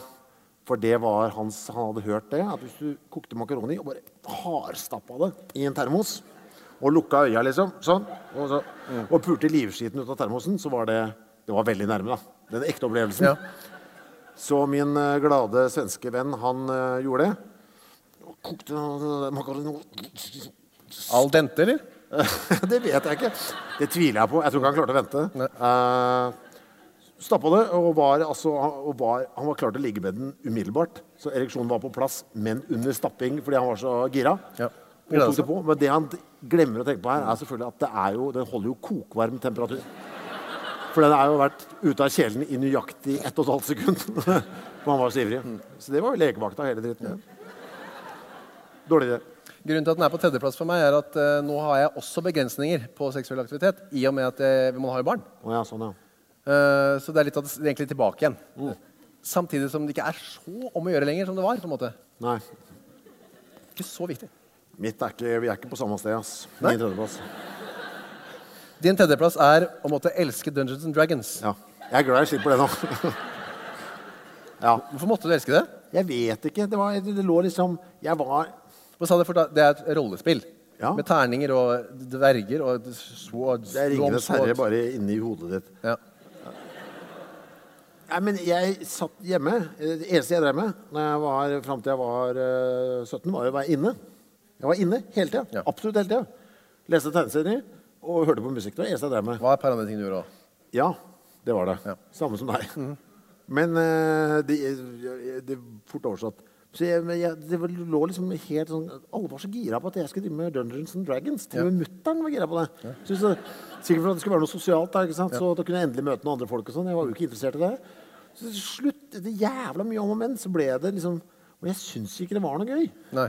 For det var hans Han hadde hørt det. At hvis du kokte makaroni og bare hardstappa det i en termos og lukka øya, liksom, sånn, og, så, og pulte livskiten ut av termosen, så var det Det var veldig nærme, da. Den ekte opplevelsen.
Ja.
Så min eh, glade svenske venn, han eh, gjorde det. Og kokte eh, makaroni
Al dente, eller?
det vet jeg ikke. Det tviler jeg på. Jeg tror ikke han klarte å vente. Uh, Stappa det, og var, altså, og var, han var klar til å ligge med den umiddelbart. Så ereksjonen var på plass, men under stapping fordi han var så gira.
Ja.
Og tok det på. Men det han glemmer å tenke på her, er selvfølgelig at det er jo, den holder jo kokvarm temperatur. For den har jo vært ute av kjelen i nøyaktig ett og et halvt sekund. For han var så ivrig. Så det var jo legevakta hele dritten. Dårlig idé.
Grunnen til at den er på tredjeplass for meg, er at eh, nå har jeg også begrensninger på seksuell aktivitet, i og med at eh, man har jo barn.
Å ja, sånn, ja.
Eh, så det er litt av det det er egentlig tilbake igjen. Samtidig som det ikke er så om å gjøre lenger som det var. på en måte.
Nei.
Ikke så viktig.
Mitt er ikke, vi er ikke på samme sted, ass.
Nei?
Min tredjeplass.
Din tredjeplass er å måtte elske Dungeons and Dragons.
Ja. Jeg er glad jeg slipper det nå. Ja.
Hvorfor måtte du elske det?
Jeg vet ikke. Det, var, det lå liksom Jeg var
Hva sa du for da? Det er et rollespill.
Ja.
Med terninger og dverger og swords.
Det er Ringenes
long
herre
swords.
bare inni hodet ditt.
Ja.
Nei, men jeg satt hjemme. Eh, Det eneste jeg drev med når jeg var, fram til jeg var eh, 17, var jo å være inne. Jeg var inne hele tida.
Ja.
Absolutt hele tida. Leste tegneserier og hørte på musikk. Det var det eneste jeg drev med.
Hva er et par andre ting du gjorde òg?
Ja, det var det.
Ja.
Samme som deg. Men eh, det, jeg- det er fort oversatt. Så jeg, men jeg, det var- lå liksom helt sånn Alle var så gira på at jeg skulle drive med Dungeons and Dragons. Til og med mutter'n var gira på det. Så, så, sikkert for at det skulle være noe sosialt der, ikke sant? så da kunne jeg endelig møte noen andre folk. og sånn. Jeg var jo ikke interessert i det. Så til slutt, etter jævla mye om og men, så ble det liksom Og jeg syns ikke det var noe gøy.
Nei.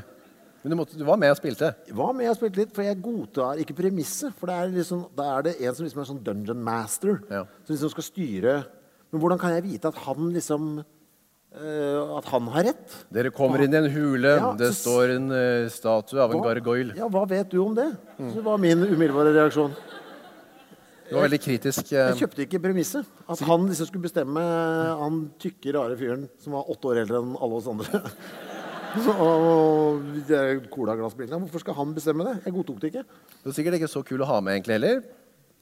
Men du, måtte, du var med og spilte.
Hva med jeg spilte litt, for jeg godtar ikke premisset. For det er liksom, da er det en som liksom er sånn dungeon master,
Ja.
som liksom skal styre. Men hvordan kan jeg vite at han liksom eh, At han har rett?
Dere kommer inn i en hule.
Ja,
det
så s-
står en eh, statue av en gargoyle.
ja, hva vet du om det?
Mm.
Så det var min umiddelbare reaksjon.
Det var veldig kritisk. eh,
Jeg kjøpte ikke premisset. At han liksom skulle bestemme han tykke, rare fyren som var åtte år eldre enn alle oss andre. Og de der colaglassbilene. Hvorfor skal han bestemme det? Jeg godtok det ikke.
Det var sikkert ikke så kul å ha med egentlig heller.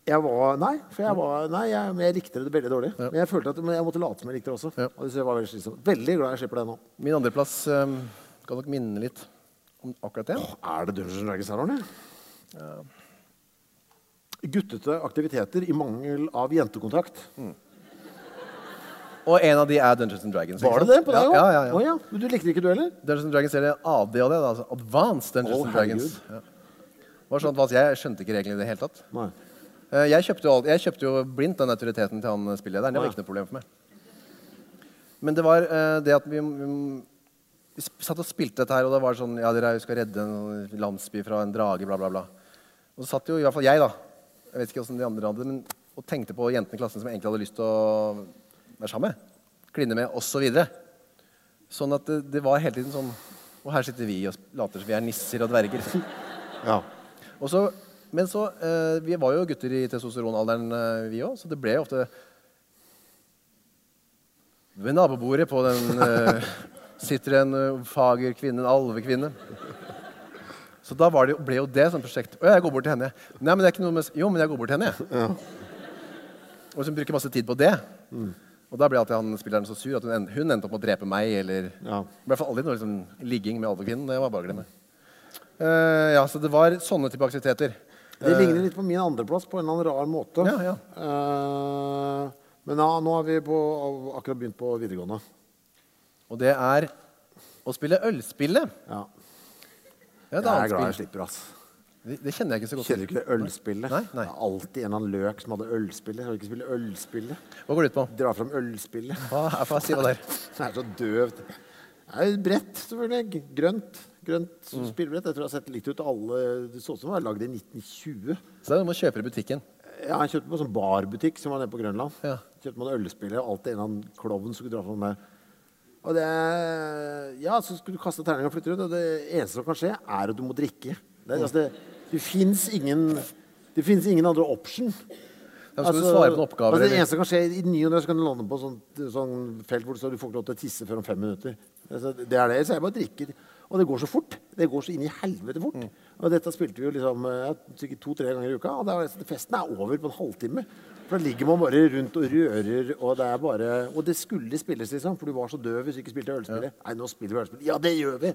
Jeg var, nei, for jeg var, nei, jeg, men jeg likte det veldig dårlig. Men jeg følte at men jeg måtte late som jeg likte det også.
Ja.
Og så jeg var veldig slitsom. Veldig glad jeg slipper det nå.
Min andreplass um, kan nok minne litt om akkurat det.
Er det Dungeons Dragons her, Arne? Guttete aktiviteter i mangel av jentekontakt.
Mm. Og en av de er Dungeons and Dragons. ikke
Var det det
sant?
på deg òg?
Ja, ja, ja.
Å ja. Men Du likte ikke du heller?
Dungeons and Dragons eller AD og det, da, altså Advanced Dungeons
Å,
and Dragons. Ja. Det Var sånn at Jeg skjønte ikke reglene i det hele tatt.
Nei.
Eh, Jeg kjøpte jo, alt, jeg kjøpte jo blindt den autoriteten til han spillederen. Det
Ja.
var ikke noe problem for meg. Men det var eh, det at vi, vi, vi sp- satt og spilte dette her, og det var sånn Ja, dere skal redde en landsby fra en drage, bla, bla, bla. Og så satt jo i hvert fall jeg, da, jeg vet ikke hvordan de andre hadde det, men, og tenkte på jentene i klassen som jeg egentlig hadde lyst til å være sammen med, kline med, osv. Sånn at det, det var hele tiden sånn Og her sitter vi og later som vi er nisser og dverger.
Ja.
Og så, men så eh, Vi var jo gutter i testosteronalderen, eh, vi òg, så det ble jo ofte Ved nabobordet på den eh, sitter en eh, fager kvinne, en alvekvinne. Så da var det, jo- ble jo det sånn prosjekt. Å, jeg går bort til henne. Nei, men det er ikke noe med s- Jo, men jeg går bort til henne, jeg. Og så bruker masse tid på det. Og da ble alltid han spilleren så sur at hun, en- hun endte opp med å drepe meg, eller
Ja.
Det ble i hvert fall aldri noe liksom, ligging med alvekvinnen. Det var bare å glemme. Eh, ja, så det var sånne type aktiviteter.
Det ligner litt på min andreplass på en eller annen rar måte.
Eh. Ja, ja.
Eh, men ja, nå har vi på, akkurat begynt på videregående.
Og det er å spille ølspillet.
Ja.
Det er et
Jeg er glad
annet
jeg
spill.
slipper, ass.
Det, det kjenner jeg ikke så godt
Kjenner du
til.
ikke det ølspillet?
Nei, nei.
Det er alltid en eller annen løk som hadde ølspillet. Skal du ikke spille ølspillet?
Hva går det ut på?
Dra fram ølspillet.
Hva er hva sier det der?
Det er så døvt. Det er jo bredt, selvfølgelig. Grønt. Grønt
Mm.
spillbrett. Jeg tror jeg har sett likt ut alle Det så ut som det var lagd i 1920.
Så det er noe med å kjøpe det i butikken.
Ja, jeg kjøpte på en sånn barbutikk som var nede på Grønland.
Ja.
Kjøpte man ølspillet, og alltid en eller annen klovn skulle dra fram der. Og det Ja, så skulle du kaste terninger og flytte rundt, og det eneste som kan skje, er at du må drikke. Det, altså, det, det fins ingen Det fins ingen andre option.
Da skal du svare på noen oppgaver,
altså, det
eller?
eneste som kan skje i ny og ne, så kan du lande på sånn, sånn felt hvor det står du får ikke lov til å tisse før om fem minutter. Altså, det er det. Så jeg bare drikker. Og det går så fort. Det går så inn i helvete fort.
Mm.
Og dette spilte vi jo liksom eh, sikkert to-tre ganger i uka. Og det er, liksom- festen er over på en halvtime. For da ligger man bare rundt og rører, og det er bare Og det skulle spilles, liksom. For du var så døv hvis du ikke spilte ølspillet. Nei, nå spiller vi ølspillet. Ja, det gjør vi!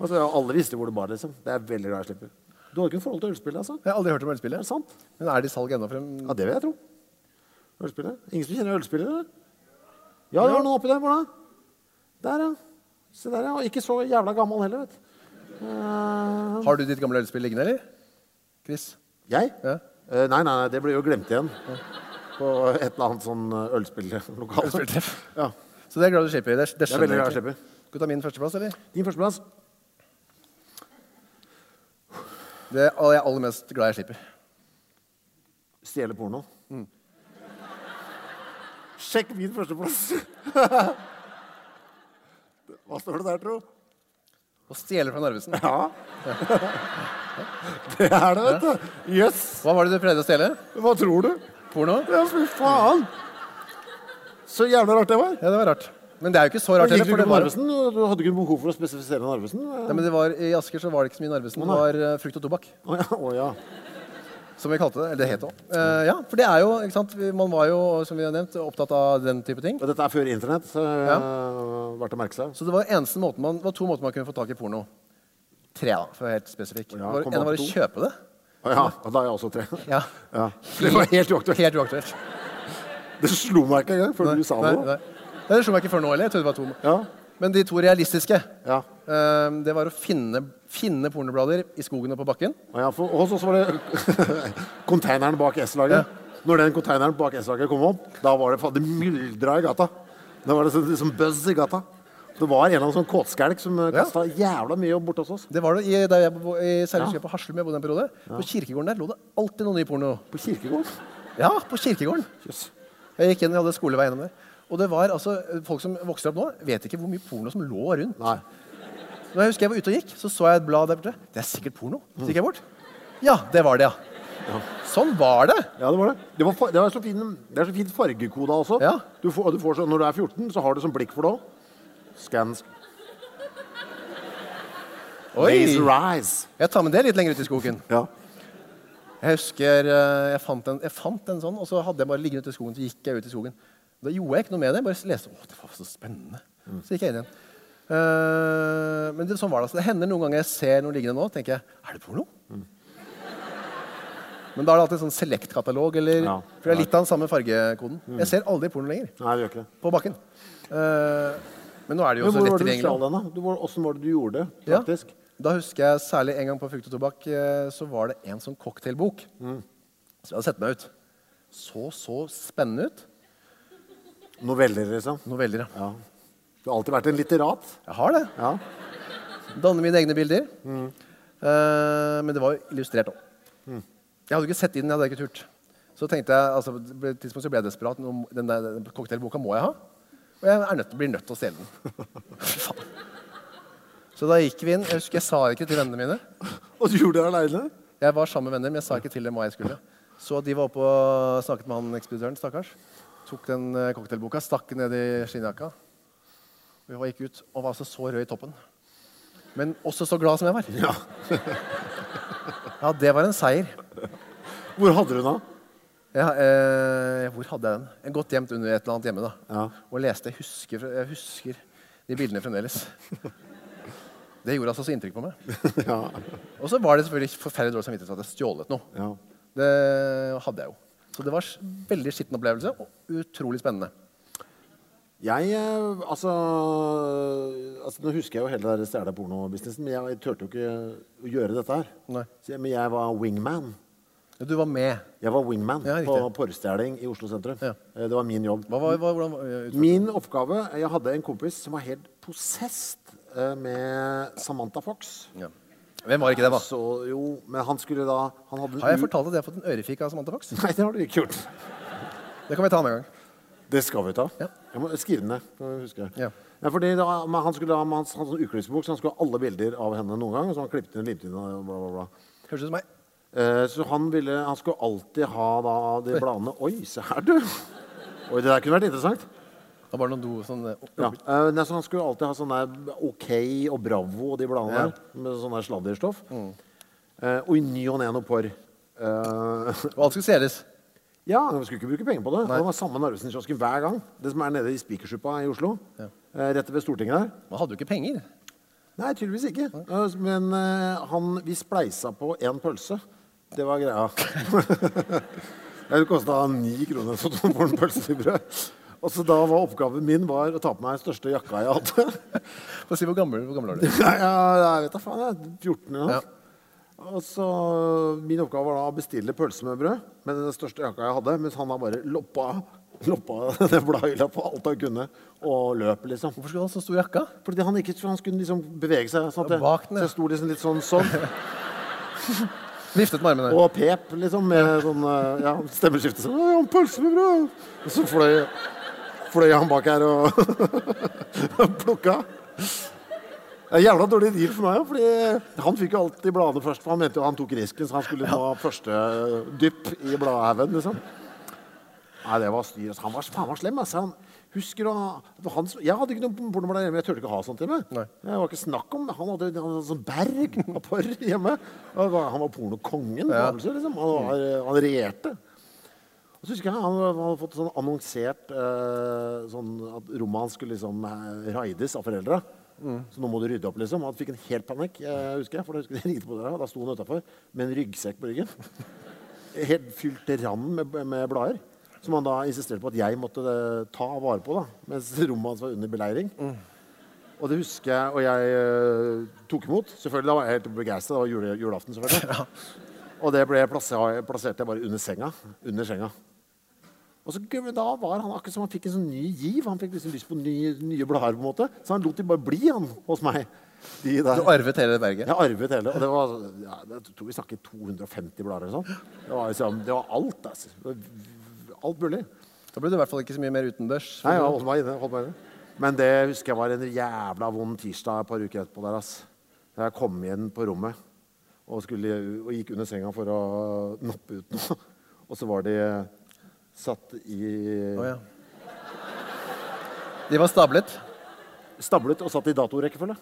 Og så, ja, alle visste hvor det bar, liksom. Det er veldig glad jeg slipper. Du har ikke noe forhold til ølspillet, altså?
Jeg har aldri hørt om
Det er
ølspillet.
sant.
Men er det i salg ennå? Frem?
Ja, det vil jeg tro. Ølspillet. Ingen som kjenner ølspillet, eller? Ja, det var noe oppi der. Hvor da? Der, ja. Se der, ja. Og ikke så jævla gammel heller, vet du. Eh,
Har du ditt gamle ølspill liggende, eller? Chris?
jeg?
Ja.
Eh, nei, nei, nei, det ble jo glemt igjen. På et eller annet sånn ølspilllokal.
Ølspilltreff.
Ja.
Så det er glad du slipper. Det, det
Jeg er
skjønner
veldig glad jeg
egentlig.
slipper.
Skal du ta min førsteplass, eller?
Din førsteplass.
Det er all- jeg er aller mest glad jeg slipper.
Stjele porno. Sjekk min førsteplass. Hva står det der, tro?
Å stjele fra Narvesen.
Ja. Det er det, vet du. Jøss.
Hva var det du prøvde å stjele?
Hva tror du?
Porno?
Ja, fy faen! Så jævla rart det var.
Ja, det var rart. Men det er jo ikke så rart
Likte
heller.
du
For
ikke
det var,
Narvesen? Du hadde ikke behov for å spesifisere eh? Narvesen?
nei, men det var, I Asker så var det ikke så mye Narvesen. Det var eh, frukt og tobakk.
Å ja, å ja.
Som vi kalte det. Eller det het det òg. ja, for det er jo ikke sant? vi- Man var jo, som vi har nevnt, opptatt av den type ting.
Og dette er før internett, så ja. verdt å merke seg.
Så det var, eneste måten man, det var to måter man kunne få tak i porno. Tre, da, for å være helt spesifikk.
Ja,
Det var-
kom
en
an
var å
på to.
kjøpe det.
Å ja, og da er jeg også tre.
Ja.
Ja. Det var helt uaktuelt.
Helt uaktuelt.
Det slo meg ikke engang før
Nei,
du sa
nei,
det. nå.
nei. Nei, Det slo meg ikke før nå heller. Jeg trodde det var to.
Ja.
Men de to realistiske,
Ja.
ehm, det var å finne, finne pornoblader i skogen og på bakken.
Og ja, for hos oss var det konteineren bak S-laget. Når den konteineren bak S-laget kom opp, da var det faen, det myldra i gata. Da var det sånn, liksom buzz i gata. Det var en eller annen sånn kåtskjelk som
Ja.
kasta jævla mye opp borte hos oss.
Det var det i, der jeg, bo- i særlig husker jeg på Haslum jeg bodde en periode. På kirkegården der lå det alltid noe ny porno.
På kirkegården.
Ja, på kirkegården.
Jøss.
Jeg gikk inn, vi hadde skolevei gjennom der. Og det var altså, folk som vokser opp nå, vet ikke hvor mye porno som lå rundt.
Nei.
Når jeg husker jeg var ute og gikk, så så jeg et blad der borte. Det er sikkert porno. Så gikk jeg bort. Ja, det var det, ja. Sånn var det.
Ja, det var det. Det, var, fa- det, var så fin, det er så fin fargekoda også.
Ja.
Du får, og du får så, når du er 14, så har du sånn blikk for det òg. Scans laser
Oi!
eyes.
Jeg tar med det litt lenger ut i skogen.
Ja.
Jeg husker eh, jeg fant, en, jeg fant en sånn, og så hadde jeg bare liggende ute i skogen. Så gikk jeg ut i skogen. Da gjorde jeg ikke noe med det. jeg Bare leste. Å, det var så spennende.
Mm.
Så gikk jeg inn igjen. Eh, men det, sånn var det. altså. Det hender noen ganger jeg ser noe liggende nå, tenker jeg Er det porno?
Mm.
Men da er det alltid en sånn select-katalog, eller
Ja. Mm.
For det er litt av den samme fargekoden. Jeg ser aldri porno lenger.
Nei, det gjør ikke det.
På bakken. Eh, men nå er det jo
Men
så
hvor
lett
var det du
tilgjengelig.
stjal den, da? Du, hvor- Hvordan var det du gjorde det,
Ja.
faktisk?
Da husker jeg særlig en gang på Frukt og tobakk eh, så var det en sånn cocktailbok. Så jeg hadde sett meg ut. Så så spennende ut.
Noveller, liksom?
Noveller, ja.
Ja. Du har alltid vært en litterat.
Jeg har det.
Ja.
Danne mine egne bilder. Eh, men det var jo illustrert òg. Mm. Jeg hadde ikke sett inn, jeg hadde ikke turt. Så tenkte jeg, altså, på et tidspunkt så ble jeg desperat. Nå- Den der den cocktailboka må jeg ha. Og jeg er nødt, blir nødt til å stjele den. Fy faen. Så da gikk vi inn. Jeg husker jeg sa det ikke til vennene mine.
Og du gjorde det aleine?
Jeg var sammen med venner, men jeg sa ikke til dem hva jeg skulle. Så de var oppe og snakket med han ekspeditøren, stakkars. Tok den eh, cocktailboka, stakk den ned i skinnjakka. Og jeg gikk ut og var altså så rød i toppen. Men også så glad som jeg var.
Ja.
Ja, det var en seier.
Hvor hadde du den da?
Ja, eh, hvor hadde jeg den? Jeg har gått gjemt under et eller annet hjemme. da.
Ja.
Og leste. Jeg husker, jeg husker de bildene fremdeles. Det gjorde altså så inntrykk på meg.
ja.
Og så var det selvfølgelig forferdelig dårlig samvittighet for at jeg stjålet noe.
ja.
Det hadde jeg jo. Så det var s- veldig skitten opplevelse, og utrolig spennende.
Jeg eh, altså, altså Nå husker jeg jo hele den stjele porno-businessen, men jeg turte jo ikke å gjøre dette her.
Nei.
Så jeg- Men jeg var wingman.
Du var med.
Jeg var wingman
Ja, riktig.
på porrestjeling i Oslo sentrum.
Ja.
Eh, Det var min jobb.
Hva var, hva, hvordan, var- ut-
Min oppgave Jeg hadde en kompis som var helt possessed eh, med Samantha Fox.
ja. Hvem var ikke det, da?
Så jo, men han skulle da han hadde en
Har jeg
u-
fortalt at jeg har fått en ørefik av Samantha Fox?
Nei, det har du ikke gjort.
Det kan vi ta en annen gang.
Det skal vi ta.
Ja.
Jeg må skrive den ned. kan jeg huske.
Ja.
Nei, fordi da, men han skulle ha med hans, hans sånn ukelivsbok, så han skulle ha alle bilder av henne noen gang. og Så han klippet inn, limte inn og bla, bla, bla.
Høres ut som meg.
Eh, så han, ville, han skulle alltid ha da de bladene Oi, se her, du! Oi, det der kunne vært interessant.
Da var det noen do sånn eh,
Ja. eh, nei, så han skulle alltid ha sånn der OK og Bravo og de bladene
Ja. Mm.
der, med sånn der sladderstoff. Eh, og i ny og ne noe porr. Eh,
Og alt skulle stjeles.
ja, vi skulle ikke bruke penger på det. Det var samme Narvesen-kiosken hver gang. Det som er nede i Spikersuppa i Oslo.
Ja.
eh, rett ved Stortinget der.
Man hadde jo ikke penger.
Nei, tydeligvis ikke. Eh, men eh, han, vi spleisa på én pølse. Det var greia. det kosta ni kroner for to for en pølse i brød. Og så da var oppgaven min var å ta på meg den største jakka jeg hadde.
Få si hvor gammel, hvor gammel er du?
Nei, ja, jeg vet da faen. Jeg er 14 eller noe.
Ja.
Og så Min oppgave var da å bestille pølse med brød med den største jakka jeg hadde, mens han da bare loppa, loppa det bladhylla på alt han kunne, og løp, liksom.
Hvorfor skulle du ha så stor jakke?
Fordi han ikke han skulle liksom bevege seg. Sånn at jeg,
Bak den, ja.
så jeg sto liksom litt sånn sånn.
Viftet med armene.
Og pep, liksom, med sånn eh, ja, stemmeskifte. Sånn, «Å, 'Pølse med brød!' Og så fløy, fløy han bak her og plukka. Det er jævla dårlig deal for meg, jo, fordi han fikk jo alltid bladene først. For han mente jo han tok risken, så han skulle ta første dypp i bladhaugen, liksom. Nei, det var styr. altså. Han var faen meg slem. Altså. Han Husker du han- han som- Jeg hadde ikke noe pornoblad hjemme. Jeg turte ikke å ha sånt hjemme.
Nei.
Jeg var ikke snakk om Han hadde, han hadde sånn berg av porr hjemme. Han var, han var pornokongen.
Ja.
var det så, Liksom. Han, var, han regjerte. Og så husker jeg Han han hadde fått sånn annonsert eh, sånn at rommet hans skulle liksom eh, raides av foreldra. Så nå må du rydde opp, liksom. Han fikk en helt panikk, eh, husker jeg. For da husker jeg ringte på døra, og da sto han utafor med en ryggsekk på ryggen. Helt fylt til randen med, med blader. Som han da insisterte på at jeg måtte eh, ta vare på, da, mens rommet hans var under beleiring. Og det husker jeg, og jeg eh, tok imot. Selvfølgelig, Da var jeg helt begeistra. Det var jule, julaften, selvfølgelig. Og det ble plassert, plasserte jeg bare under senga. Under senga. Og så, gøy, men da var han akkurat som han fikk en sånn ny giv. Han fikk liksom lyst på nye, nye blader, på en måte. Så han lot de bare bli, han, hos meg. De
Du
der.
arvet hele berget?
Jeg arvet hele. Og det var, ja, jeg tror vi snakket 250 blader eller sånn. Det var, liksom, det var alt, altså. Det var Alt mulig.
Da blir du i hvert fall ikke så mye mer utendørs.
Nei, jeg holdt meg inne. Holdt meg inne. Men det husker jeg var en jævla vond tirsdag et par uker etterpå der, ass. Da jeg kom igjen på rommet og, skulle, og gikk under senga for å nappe ut noe. Og så var de satt i
Å, ja. De var stablet.
Stablet og satt i datorekkefølge.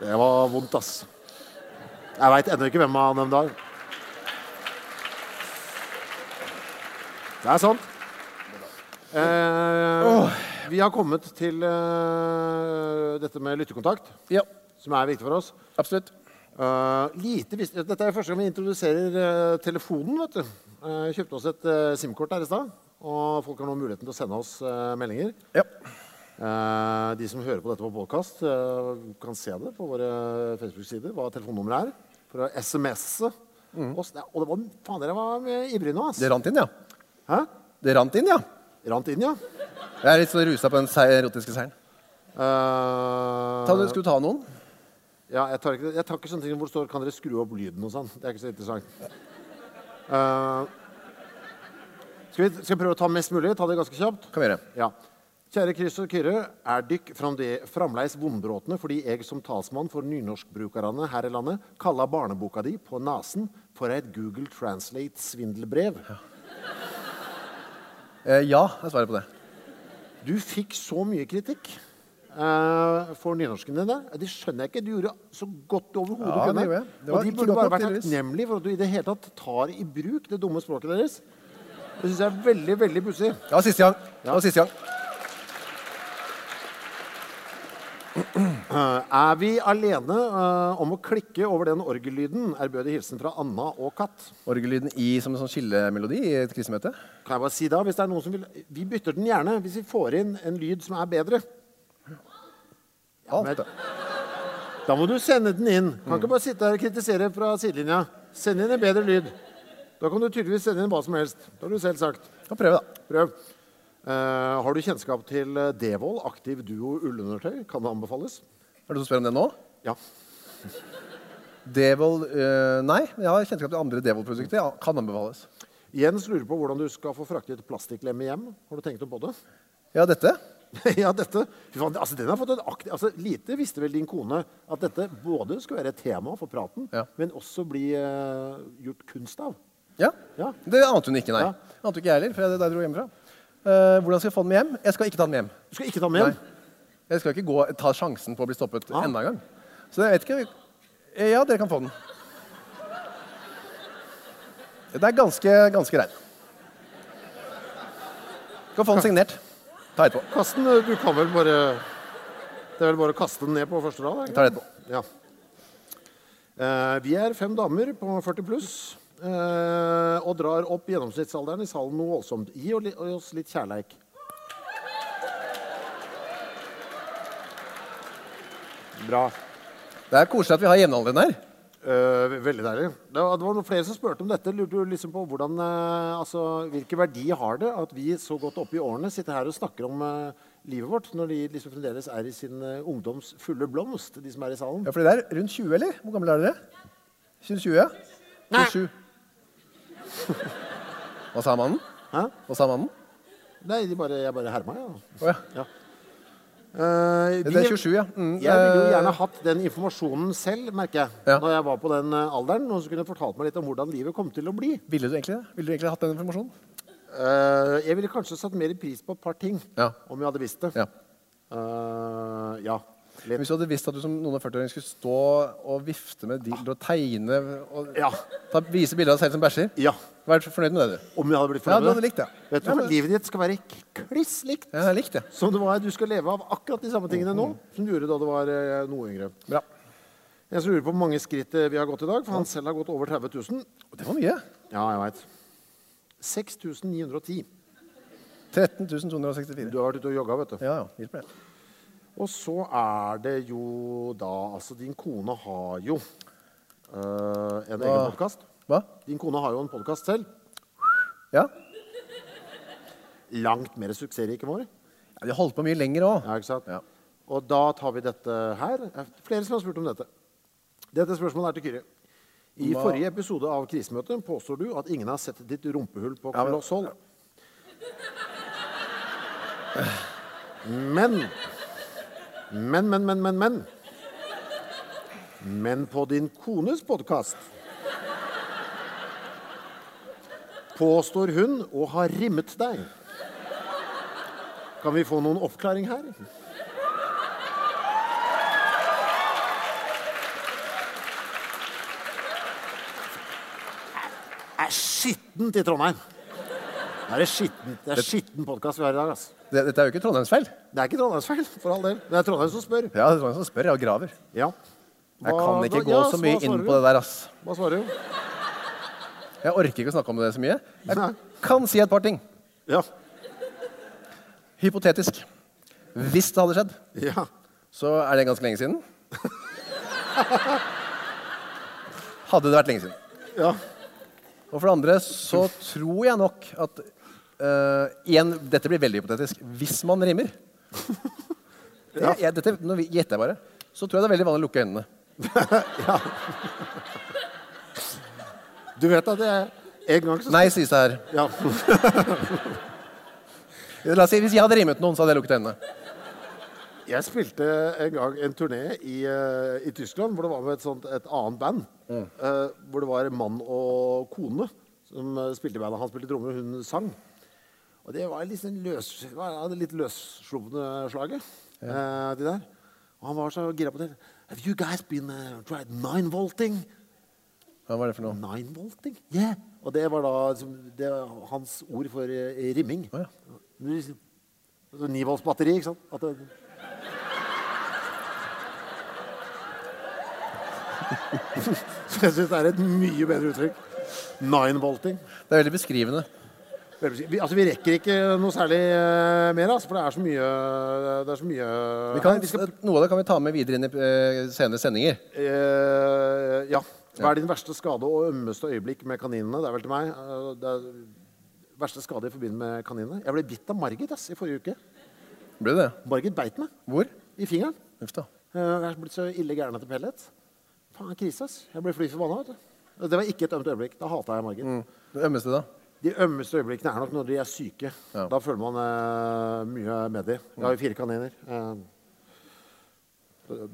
Det var vondt, ass. Jeg veit ennå ikke hvem av dem det er. Det er sant. Eh, vi har kommet til eh, dette med lyttekontakt,
Ja,
som er viktig for oss.
absolutt.
Eh, lite visst, dette er første gang vi introduserer eh, telefonen. vet du. Eh, Jeg kjøpte oss et eh, SIM-kort her i stad, og folk har nå muligheten til å sende oss eh, meldinger.
Ja.
Eh, de som hører på dette på podkast, kan se det på våre Facebook-sider hva telefonnummeret er. For å SMS-e oss. Det- Og det var, faen, dere var eh, ivrige nå, ass.
Mm. Det rant inn, ja.
Hæ?
Det rant inn, ja.
Rant inn, ja.
Jeg er litt så rusa på den se- erotiske seieren.
Eh,
Ta, skulle du ta noen?
ja, jeg, tar ikke, jeg tar ikke sånne ting hvor det står 'Kan dere skru opp lyden?' og sånn. Det er ikke så interessant. Eh, skal, vi, skal vi prøve å ta mest mulig? Ta det ganske kjapt?
Kan vi gjøre.
Ja. Kjære Chris og Kyrre, er dykk framde- framleis vondbråtne fordi jeg som talsmann for nynorskbrukerne her i landet kalla barneboka di på nesen for et Google Translate-svindelbrev?
Eh, ja er svaret på det.
Du fikk så mye kritikk eh, for nynorsken din der. Det skjønner jeg ikke. Du gjorde så godt du overhodet
Ja, det
kunne.
gjorde jeg. Det var
Og de
ikke
burde
godt
bare
nok,
vært
tydeligvis.
takknemlige for at du i det hele tatt tar i bruk det dumme språket deres. Det syns jeg er veldig, veldig pussig.
Det var siste gang. Det var siste gang.
Eh, Er vi alene eh, om å klikke over den orgellyden? Ærbødig hilsen fra Anna og Katt.
Orgellyden i som en sånn skillemelodi i et krisemøte.
Kan jeg bare si da, hvis det er noen som vil Vi bytter den gjerne hvis vi får inn en lyd som er bedre.
Alt,
men-
det.
Da må du sende den inn. Kan ikke bare sitte her og kritisere fra sidelinja. Send inn en bedre lyd. Da kan du tydeligvis sende inn hva som helst. Det har du selv sagt.
Kan prøve, da.
Prøv. Eh, har du kjennskap til eh, Devold, aktiv duo ullundertøy? Kan det anbefales?
Er det du som spør om det nå?
Ja.
Devold eh, Nei, men jeg har kjennskap til andre Devold-produkter. Ja, kan anbefales.
Jens lurer på hvordan du skal få fraktet plastikklemme hjem. Har du tenkt noe på det?
Ja, dette.
ja, dette Fy faen, altså, den har fått en aktiv altså, Lite visste vel din kone at dette både skulle være et tema for praten,
Ja.
men også bli eh, gjort kunst av.
Ja.
Ja.
Det ante hun ikke, nei.
Ja.
Det ante ikke jeg heller, for jeg, da jeg dro hjemmefra. Eh, hvordan skal jeg få den med hjem? Jeg skal ikke ta den med hjem.
Du skal ikke ta den med hjem?
Jeg skal ikke gå, ta sjansen på å bli stoppet
Ah.
enda en gang. Så jeg vet ikke Eh, Ja, dere kan få den. Det er ganske, ganske greit. Skal få den signert. Ta etterpå.
Kast den. eh, Du kan vel bare Det er vel bare å kaste den ned på første rad? er det
Jeg
ikke?
tar det etterpå.
Ja. Eh, vi er fem damer på 40 pluss eh, og drar opp gjennomsnittsalderen i salen noe voldsomt. Gi og li- oss litt kjærleik. Bra.
Det er koselig at vi har jevnaldrende her.
Eh, ve- veldig deilig. Det var, det var noen flere som spurte om dette. Lurte jo liksom på hvordan, eh, altså, Hvilken verdi har det at vi så godt oppe i årene sitter her og snakker om eh, livet vårt, når de liksom fremdeles er i sin eh, ungdoms fulle blomst, de som er i salen?
Ja, for det er rundt 20, eller? Hvor gamle er dere? 20? ja?
Nei.
27. Hva sa mannen?
Hæ?
Hva sa mannen?
Nei, de bare, jeg bare herma, jeg.
Å ja.
Ja. Eh,
Det
vi-
er 27, ja. Mm,
Jeg ville jo
eh,
gjerne hatt den informasjonen selv, merker jeg.
Ja.
Når jeg var på den eh, alderen. Noen som kunne fortalt meg litt om hvordan livet kom til å bli.
Ville du egentlig det? Ville du egentlig hatt den informasjonen?
Eh, Eh, jeg ville kanskje satt mer pris på et par ting
Ja.
om jeg hadde visst det.
Ja.
Eh, ja. Litt.
Hvis du hadde visst at du som noen og 40-åring skulle stå og vifte med dildo og tegne og
Ja.
ta, vise bilder av deg selv som bæsjer
ja.
Vær fornøyd med det, du.
Om jeg hadde
Ja,
blitt
du
fornøyd med
hadde likt det.
Vet du
Ja,
hva?
men-
Livet ditt skal være kliss likt
Ja, jeg likte det.
som det var. Du skal leve av akkurat de samme tingene nå
Mm-hmm.
som du gjorde da du var eh, noe yngre.
Bra.
Jeg så lurer på hvor mange skritt eh, vi har gått i dag, for han selv har gått over 30 000.
Og Det var mye.
Ja, jeg veit. 6910.
13 264.
Du har vært ute og jogga, vet du.
Ja, ja. Hjelper det.
Og så er det jo da Altså, din kone har jo eh, en egen
Hva?
podkast.
Hva?
Din kone har jo en podkast selv.
Ja?
Langt mer suksessrik enn vår.
ja vi har holdt på mye lenger òg.
Ja, ikke sant?
Ja.
Og da tar vi dette her. Det er Flere som har spurt om dette. Dette spørsmålet er til Kyrre. I
Hva-
forrige episode av krisemøtet påstår du at ingen har sett ditt rumpehull på
Ja, men-
Koloss hold. Men Men, men, men, men, men. Men på din kones podkast påstår hun å ha rimmet deg. Kan vi få noen oppklaring her? Er skittent i Trondheim. Det er, skittent. Det er skitten podkast vi har i dag. ass.
Det, dette er jo ikke Trondheims feil.
Det er ikke Trondheims feil, for all del. Det er Trondheim som spør.
Ja, det er Trondheim som spør. Jeg og graver.
Ja.
Jeg kan ikke
hva-
gå
ja,
så
hva
mye
svarer
inn
du?
på det der, ass.
Hva svarer du?
Jeg orker ikke å snakke om det så mye.
Nei.
Jeg kan si et par ting.
Ja.
Hypotetisk. Hvis det hadde skjedd,
ja.
så er det ganske lenge siden. Hadde det vært lenge siden.
Ja.
Og for det andre så tror jeg nok at eh, igjen, Dette blir veldig hypotetisk. Hvis man rimer det, jeg, dette, Nå vi- gjetter jeg bare. Så tror jeg det er veldig vanlig å lukke øynene.
Du vet at jeg en gang så
Nei, sies det her.
Ja.
La oss si, Hvis jeg hadde rimet noen, så hadde jeg lukket øynene.
Jeg spilte en gang en turné i, eh, i Tyskland hvor det var med et, sånt, et annet band. eh, hvor det var en mann og kone som eh, spilte i bandet. Han spilte trommer, og hun sang. Og det var liksom løs, det var av det litt løsslupne slaget. eh, de der. Og han var så gira på det. Have you guys been uh, tried nine volting?
Hva var det for noe?
Nine volting? Yeah. Og det var da som, det var hans ord for eh, rimming.
Å, ja.
Du- altså, Ni volts batteri, ikke sant? At det, Så jeg syns det er et mye bedre uttrykk. Nine volting.
Det er veldig beskrivende.
Vel, Vi, altså, vi rekker ikke noe særlig eh, mer, altså, for det er så mye, det er så mye
Vi kan,
Nei, vi skal,
noe av det kan vi ta med videre inn i eh, senere sendinger.
Eh, ja. Hva er din verste skade og ømmeste øyeblikk med kaninene? Det er vel til meg. Eh, Det er verste skade i forbindelse med kaninene. Jeg ble bitt av Margit ass, i forrige uke.
Blir det det?
Margit beit meg
Hvor?
i fingeren.
Uff da.
Eh, Jeg er blitt så ille gæren etter pellet. Faen, krise, ass. Jeg ble fly forbanna. vet du. Det var ikke et ømt øyeblikk. Da hata jeg Margit.
Det ømmeste, da?
De ømmeste øyeblikkene er nok når de er syke.
Ja.
Da føler man eh, mye med dem. Jeg har jo fire kaniner. Eh,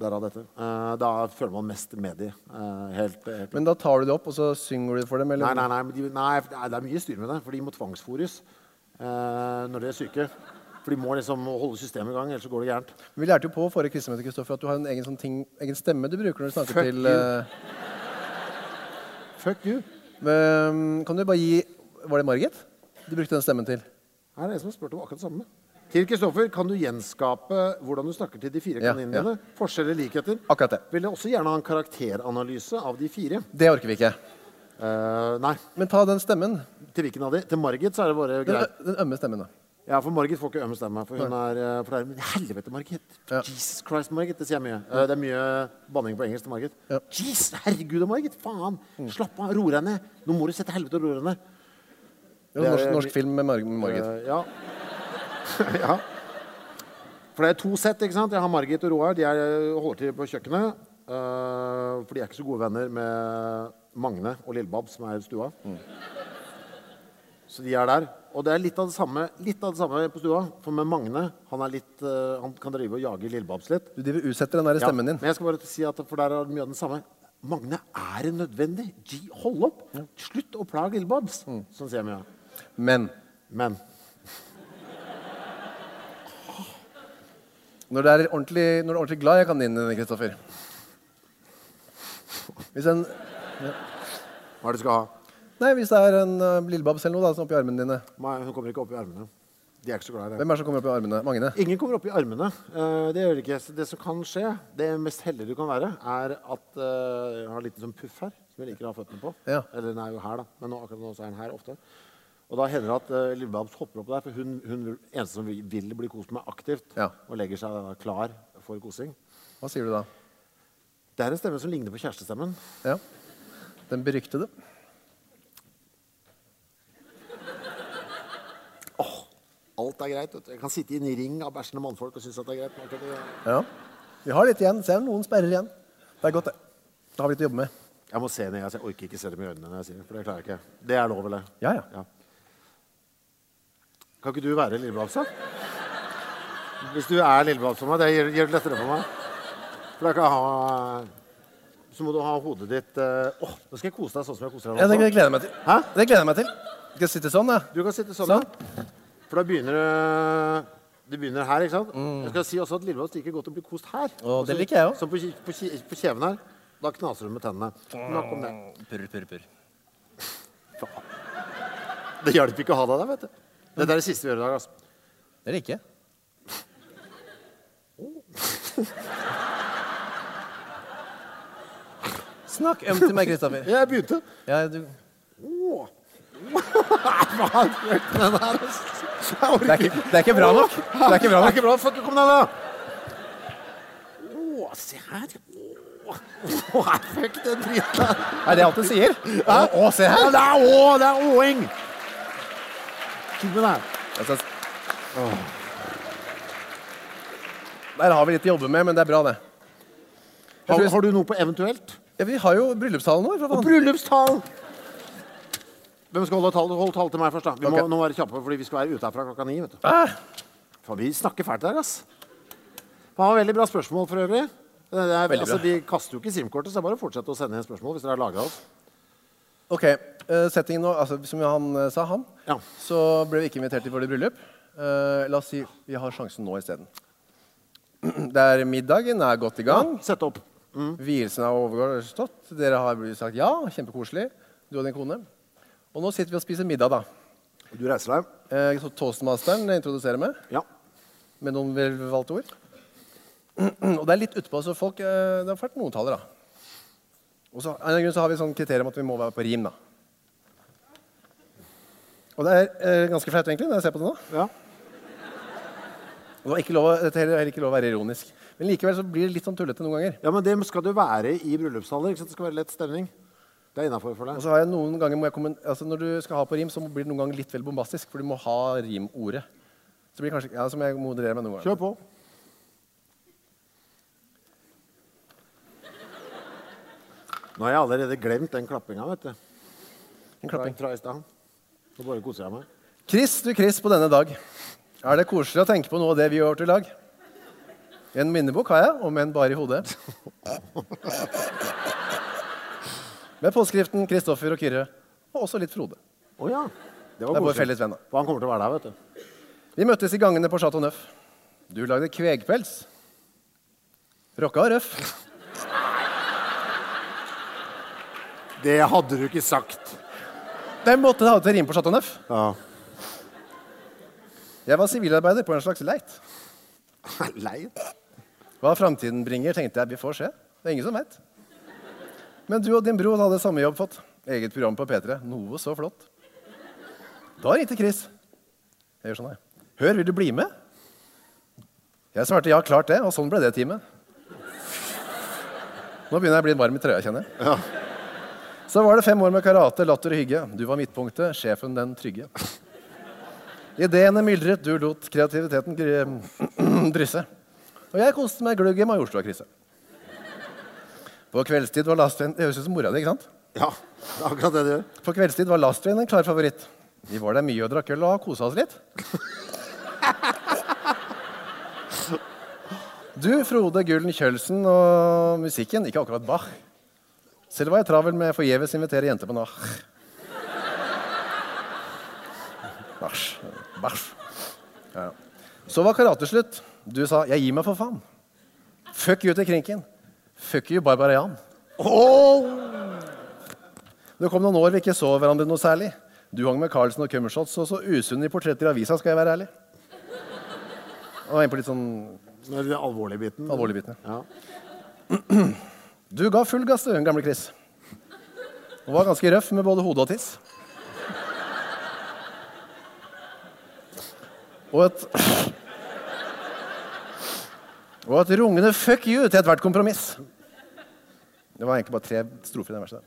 Derav dette. Eh, da føler man mest med dem. Eh, helt, helt
Men da tar du det opp, og så synger du for dem? Eller?
Nei, nei, nei, men de, nei, for det er- det er mye styr med det, for de må tvangsfôres eh, når de er syke. For de må liksom holde systemet i gang, ellers så går det gærent.
Vi lærte jo på forrige krisemøte Kristoffer, at du har en egen, sånn ting, egen stemme du bruker når du snakker
Fuck
til
you.
eh,
Fuck you.
men, Kan du bare gi Var det Margit du brukte den stemmen til?
Her er det en som har spurt om akkurat det samme. Til Kristoffer, kan du gjenskape hvordan du snakker til de fire
Ja,
kaninene
ja.
dine? Forskjeller, likheter?
Akkurat det.
Vil jeg også gjerne ha en karakteranalyse av de fire?
Det orker vi ikke.
Eh, nei.
Men ta den stemmen.
Til hvilken av de? Til Margit så er det bare
Den,
greit.
ø- den ømme stemmen, da.
Ja, for Margit får ikke ømme stemme. For hun er, eh, for det er men Helvete, Margit!
Ja.
Jesus Christ, Margit. Det sier jeg mye. Eh, Det er mye banning på engelsk til Margit.
Ja. Mm.
Jeez, herregud, Margit! Faen! Slapp av, ro deg ned! Nå må du sette helvete og ro deg ned.
Jo,
Det er-
norsk, norsk film med, Mar med Margit.
Eh, ja. ja. For det er to sett, ikke sant? Jeg har Margit og Roar. De er, eh, holder til på kjøkkenet. eh, for de er ikke så gode venner med Magne og Lillebab, som er i stua. Så de er der. Og det er litt av det samme, litt av det samme på stua. For med Magne, han, er litt, eh, han kan drive og jage Lillebabs litt.
Du driver og utsetter den der
Ja,
stemmen din.
Men jeg skal bare si at for der er mye av den samme. Magne er Mm. nødvendig. G- Hold opp! Slutt å plage Lillebabs! Sånn sier jeg mye.
Men
Men
Når du er ordentlig, når du er ordentlig glad i kaninen din, Kristoffer Hvis en
hva er det du skal ha?
Nei, hvis det er en uh, lillebabs eller noe da, som er oppi armene dine.
Nei, hun kommer ikke opp i armene. De er ikke så glad i det.
Hvem er det som kommer opp i armene? Magne?
Ingen kommer opp i armene. eh, det gjør de ikke. Så Det som kan skje, det mest heldige du kan være, er at eh, Jeg har en liten sånn puff her, som jeg liker å ha føttene på.
Ja.
Eller den er jo her, da. Men nå, akkurat nå så er den her ofte. Og da hender det at uh, Lillebabs hopper opp der, for hun, hun vil- eneste som vil- vil bli kost med aktivt,
Ja.
og legger seg da klar for kosing.
Hva sier du da?
Det er en stemme som ligner på kjærestestemmen.
Ja. Den beryktede.
Åh, alt er greit. vet du. Jeg kan sitte i en ring av bæsjende mannfolk og synes at det er greit. men akkurat det-
Ja. Vi har litt igjen. Ser noen sperrer igjen. Det er godt, det. Da har vi litt å jobbe med.
Jeg må se ned, altså. jeg orker ikke se dem i øynene når jeg sier det, for det klarer jeg ikke. Det er lov, eller?
Ja, ja.
Kan ikke du være lillebabsa? Hvis du er lillebabs for meg, det gjør gjør det lettere for meg. For da kan jeg ha... Så må du ha hodet ditt... eh, Åh, nå skal jeg kose deg sånn som jeg koser
Ja, det,
deg nå.
det gleder jeg meg til.
Hæ?
Det gleder jeg meg til. Skal jeg sitte sånn, da?
Du kan sitte sånn,
Sånn.
da. For da begynner du... Det begynner her, ikke sant? Jeg skal si også at lillebabs liker godt å bli kost her.
Mm. Å, det
Også-
liker jeg også.
Som på, ki- på, ki- på kjeven her. Da knaser hun med tennene. Nok om det.
Purr, purr, purr.
Det hjelper ikke å ha deg der, vet du. Dette er det siste vi gjør i dag, altså.
Det liker jeg. Snakk ømt til meg, Kristoffer.
Jeg begynte.
Ja, du...
Åh. Hva er det med den her, altså? Jeg orker
det, er ikke, det er ikke bra nok. Det er ikke bra
Det er
nok.
ikke bra. Fuck, kom deg ned. Åh, se her. Åh, Åh, fuck den dritten her.
Er det alt du sier? Å,
Hæ?
å, se
Ja,
her.
det er åh, det er åing. Slutt med det her.
Altså, der har vi litt å jobbe med, men det er bra, det.
Har,
tror-
har du noe på eventuelt?
Ja, vi har jo bryllupstalen vår. for faen.
Bryllupstall. Hvem skal holde tall? Hold tall til meg først, da. Vi må
Ok.
nå være kjappe, fordi vi skal være ute herfra klokka ni, vet du.
Ah,
Faen, vi snakker fælt her, ass. Det var veldig bra spørsmål for øvrig. Det er,
Veldig
altså,
bra.
vi kaster jo ikke SIM-kortet, så det er bare å fortsette å sende inn spørsmål hvis dere har lagra oss.
ok, eh, settingen nå, altså, som han eh, sa, han,
Ja.
så ble vi ikke invitert til vårt bryllup. Eh, la oss si vi har sjansen nå isteden. Det er middagen, er godt i gang.
Sett opp.
Vielsen av overgår er stått. Dere har sagt ja, kjempekoselig. Du og din kone. Og nå sitter vi og spiser middag, da.
Du reiser deg.
Eh, så Toastmasteren introduserer meg.
Ja.
med noen velvalgte ord. Og det er litt utpå, så folk eh, Det har vært noen taler, da. Og så, av en eller annen grunn så har vi sånn kriterium at vi må være på rim, da. Og det er eh, ganske flaut, egentlig, når jeg ser på det nå.
ja.
Og det var ikke lov, å- dette er heller ikke lov å være ironisk. Men likevel så blir det litt sånn tullete noen ganger.
Ja, men det skal det jo være i bryllupssaler. ikke sant? Det skal være lett stemning. Det er innafor for
Og
deg.
så har jeg noen ganger må jeg kommen, altså Når du skal ha på rim, så blir det noen ganger litt vel bombastisk, for du må ha rimordet. Så blir det kanskje, ja, Så må jeg moderere meg noen ganger.
Kjør på. Nå har jeg allerede glemt den klappinga, vet du.
En
Fra,
klapping.
fra i stad. Nå bare koser jeg meg.
Krist du Krist på denne dag. Er det koselig å tenke på noe av det vi gjør til i dag? En minnebok har jeg, om enn bare i hodet. Med påskriften 'Kristoffer og Kyrre', og også litt Frode.
Å ja. Det
Det
var
er vår
koselig.
felles venn, da.
For han kommer til å være der, vet du.
Vi møttes i gangene på Chateau Neuf. Du lagde kvegpels. Rocka og røff.
Det hadde du ikke sagt.
Den måtte det ha til å rime på Chateau Neuf.
Ja.
Jeg var sivilarbeider på en slags leit.
Leit.
Hva framtiden bringer, tenkte jeg vi får se. Det er ingen som veit. Men du og din bror hadde samme jobb fått. Eget program på P3. Noe så flott. Da ringte Chris. Jeg gjør sånn, jeg. Hør, vil du bli med? Jeg svarte ja, klart det, og sånn ble det teamet. Nå begynner jeg å bli varm i trøya, kjenner jeg.
Ja.
Så var det fem år med karate, latter og hygge. Du var midtpunktet, sjefen den trygge. Ideene myldret, du lot kreativiteten gry- drysse. Og jeg koste meg glugg i Majorstua-krise. På kveldstid var Lastveien Det høres ut som mora di, ikke sant?
Ja, det er akkurat det du gjør.
På kveldstid var Lastveien en klar favoritt. Vi var der mye og drakk øl og kosa oss litt. Du, Frode Gullen Kjølsen og musikken, ikke akkurat Bach. Selv var jeg travel med forgjeves invitere jenter på nach. Bæsj. Bæsj. Ja. Så var karate slutt. Du sa 'jeg gir meg, for faen'. Fuck you til krinken. Fuck you, Barbara Jan. Det kom noen år vi ikke så hverandre noe særlig. Du hang med Carlsen og Cummershots og så usunn i portretter i avisa, skal jeg være ærlig. Og en på litt sånn
Det er den alvorlige biten.
alvorlige bitene.
Ja.
Du ga full gass, du, gamle Chris. Og var ganske røff med både hode og tiss. Og et Og et rungende 'fuck you' til ethvert kompromiss. Det var egentlig bare tre strofer i den verset. der.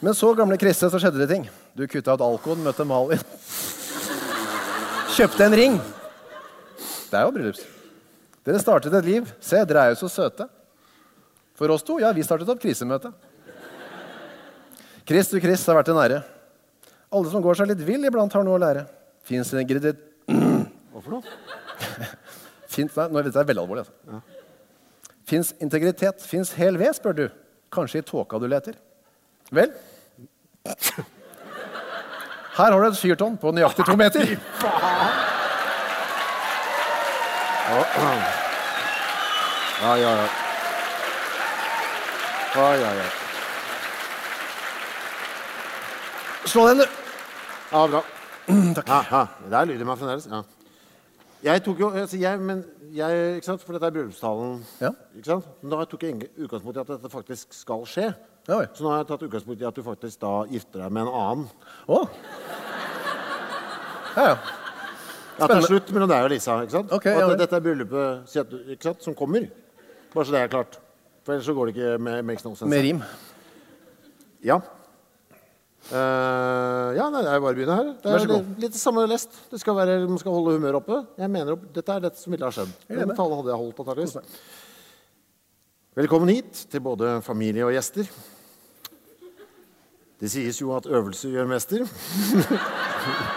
Men så, gamle Krisse, så skjedde det ting. Du kutta ut alkoen, møtte Malin. Kjøpte en ring. Det er jo bryllups. Dere startet et liv. Se, dere er jo så søte. For oss to, ja, vi startet opp krisemøte. Chris, du Chris, det har vært en ære. Alle som går seg litt vill iblant, har noe å lære. Fins en ingredient
Hva for noe?
Fins Nei, nå er dette veldig alvorlig. Altså. Fins integritet? Fins hel ved, spør du. Kanskje i tåka du leter. Vel? Her har du et fyrtårn på nøyaktig to meter.
Ja, ja, ja. Ja, ja, ja.
Slå den, du.
Ja, bra. Takk. Ja, ja. Der lyder meg fremdeles. Ja. Jeg tok jo altså jeg, men jeg, ikke sant? For dette er bryllupstalen.
Ja.
Ikke sant? Men da tok jeg ing- utgangspunkt i at dette faktisk skal skje.
Ja vel.
Så nå har jeg tatt utgangspunkt i at du faktisk da gifter deg med en annen.
Å. Ja, ja.
At det er slutt mellom deg og Lisa. ikke sant?
Ok,
og at
ja vel.
dette er bryllupet si at du- ikke sant? som kommer. Bare så det er klart. For ellers så går det ikke med makes no sense.
Med rim.
Ja. Eh, ja, nei, det er bare å begynne her. Det
Vær
er
så god.
litt, litt det samme lest. Det skal være, man skal holde humøret oppe. Jeg mener opp, Dette er dette som ville ha skjedd.
Jeg er
Den
med.
talen hadde jeg holdt antakeligvis. Velkommen hit til både familie og gjester. Det sies jo at øvelse gjør mester.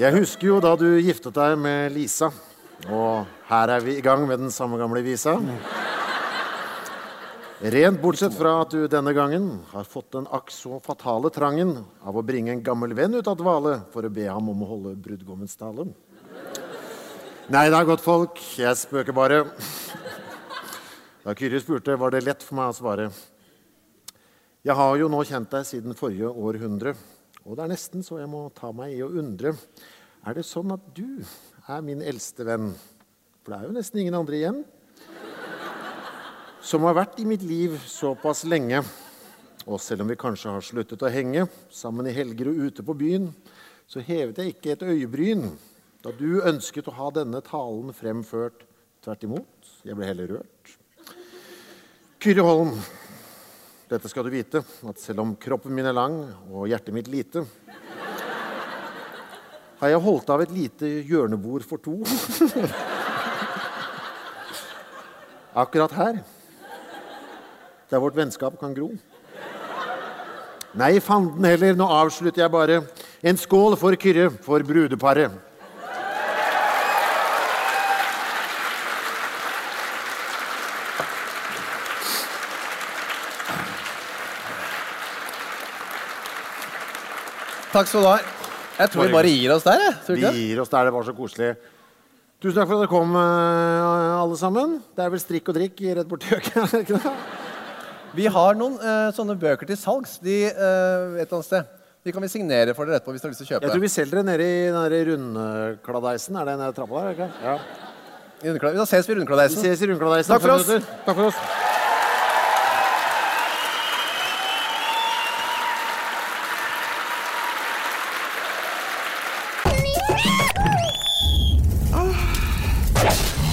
Jeg husker jo da du giftet deg med Lisa. Og her er vi i gang med den samme gamle visa. Rent bortsett fra at du denne gangen har fått den akk så fatale trangen av å bringe en gammel venn ut av dvale for å be ham om å holde brudgommens tale. Nei da, godtfolk, jeg spøker bare. Da Kyrre spurte, var det lett for meg å svare. Jeg har jo nå kjent deg siden forrige århundre, og det er nesten så jeg må ta meg i å undre. Er det sånn at du er min eldste venn? For det er jo nesten ingen andre igjen som har vært i mitt liv såpass lenge. Og selv om vi kanskje har sluttet å henge sammen i helger og ute på byen, så hevet jeg ikke et øyebryn da du ønsket å ha denne talen fremført. Tvert imot, jeg ble heller rørt. Kyrre Holm, dette skal du vite, at selv om kroppen min er lang og hjertet mitt lite, har jeg holdt av et lite hjørnebord for to. Akkurat her der vårt vennskap kan gro. Nei, fanden heller, nå avslutter jeg bare. En skål for Kyrre, for brudeparet.
Takk skal du ha. Jeg tror vi bare gir oss der. jeg. Tror du
Vi
ikke det?
gir oss der, det var så koselig. Tusen takk for at dere kom, eh, alle sammen. Det er vel strikk og drikk rett borti øken, er det ikke det?
Vi har noen eh, sånne bøker til salgs de, eh, et eller annet sted. De kan vi signere for dere etterpå hvis dere har lyst til å
Jeg
kjøpe.
tror vi selger det nede i den der rundkladeisen. Er det nede i trappa der? er det Ikke? Ja.
I rundkla- Da ses vi i
Vi
rundkladeisen.
ses i rundkladeisen.
Takk for
om fem
oss.
minutter. Takk for oss.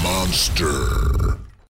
Monster.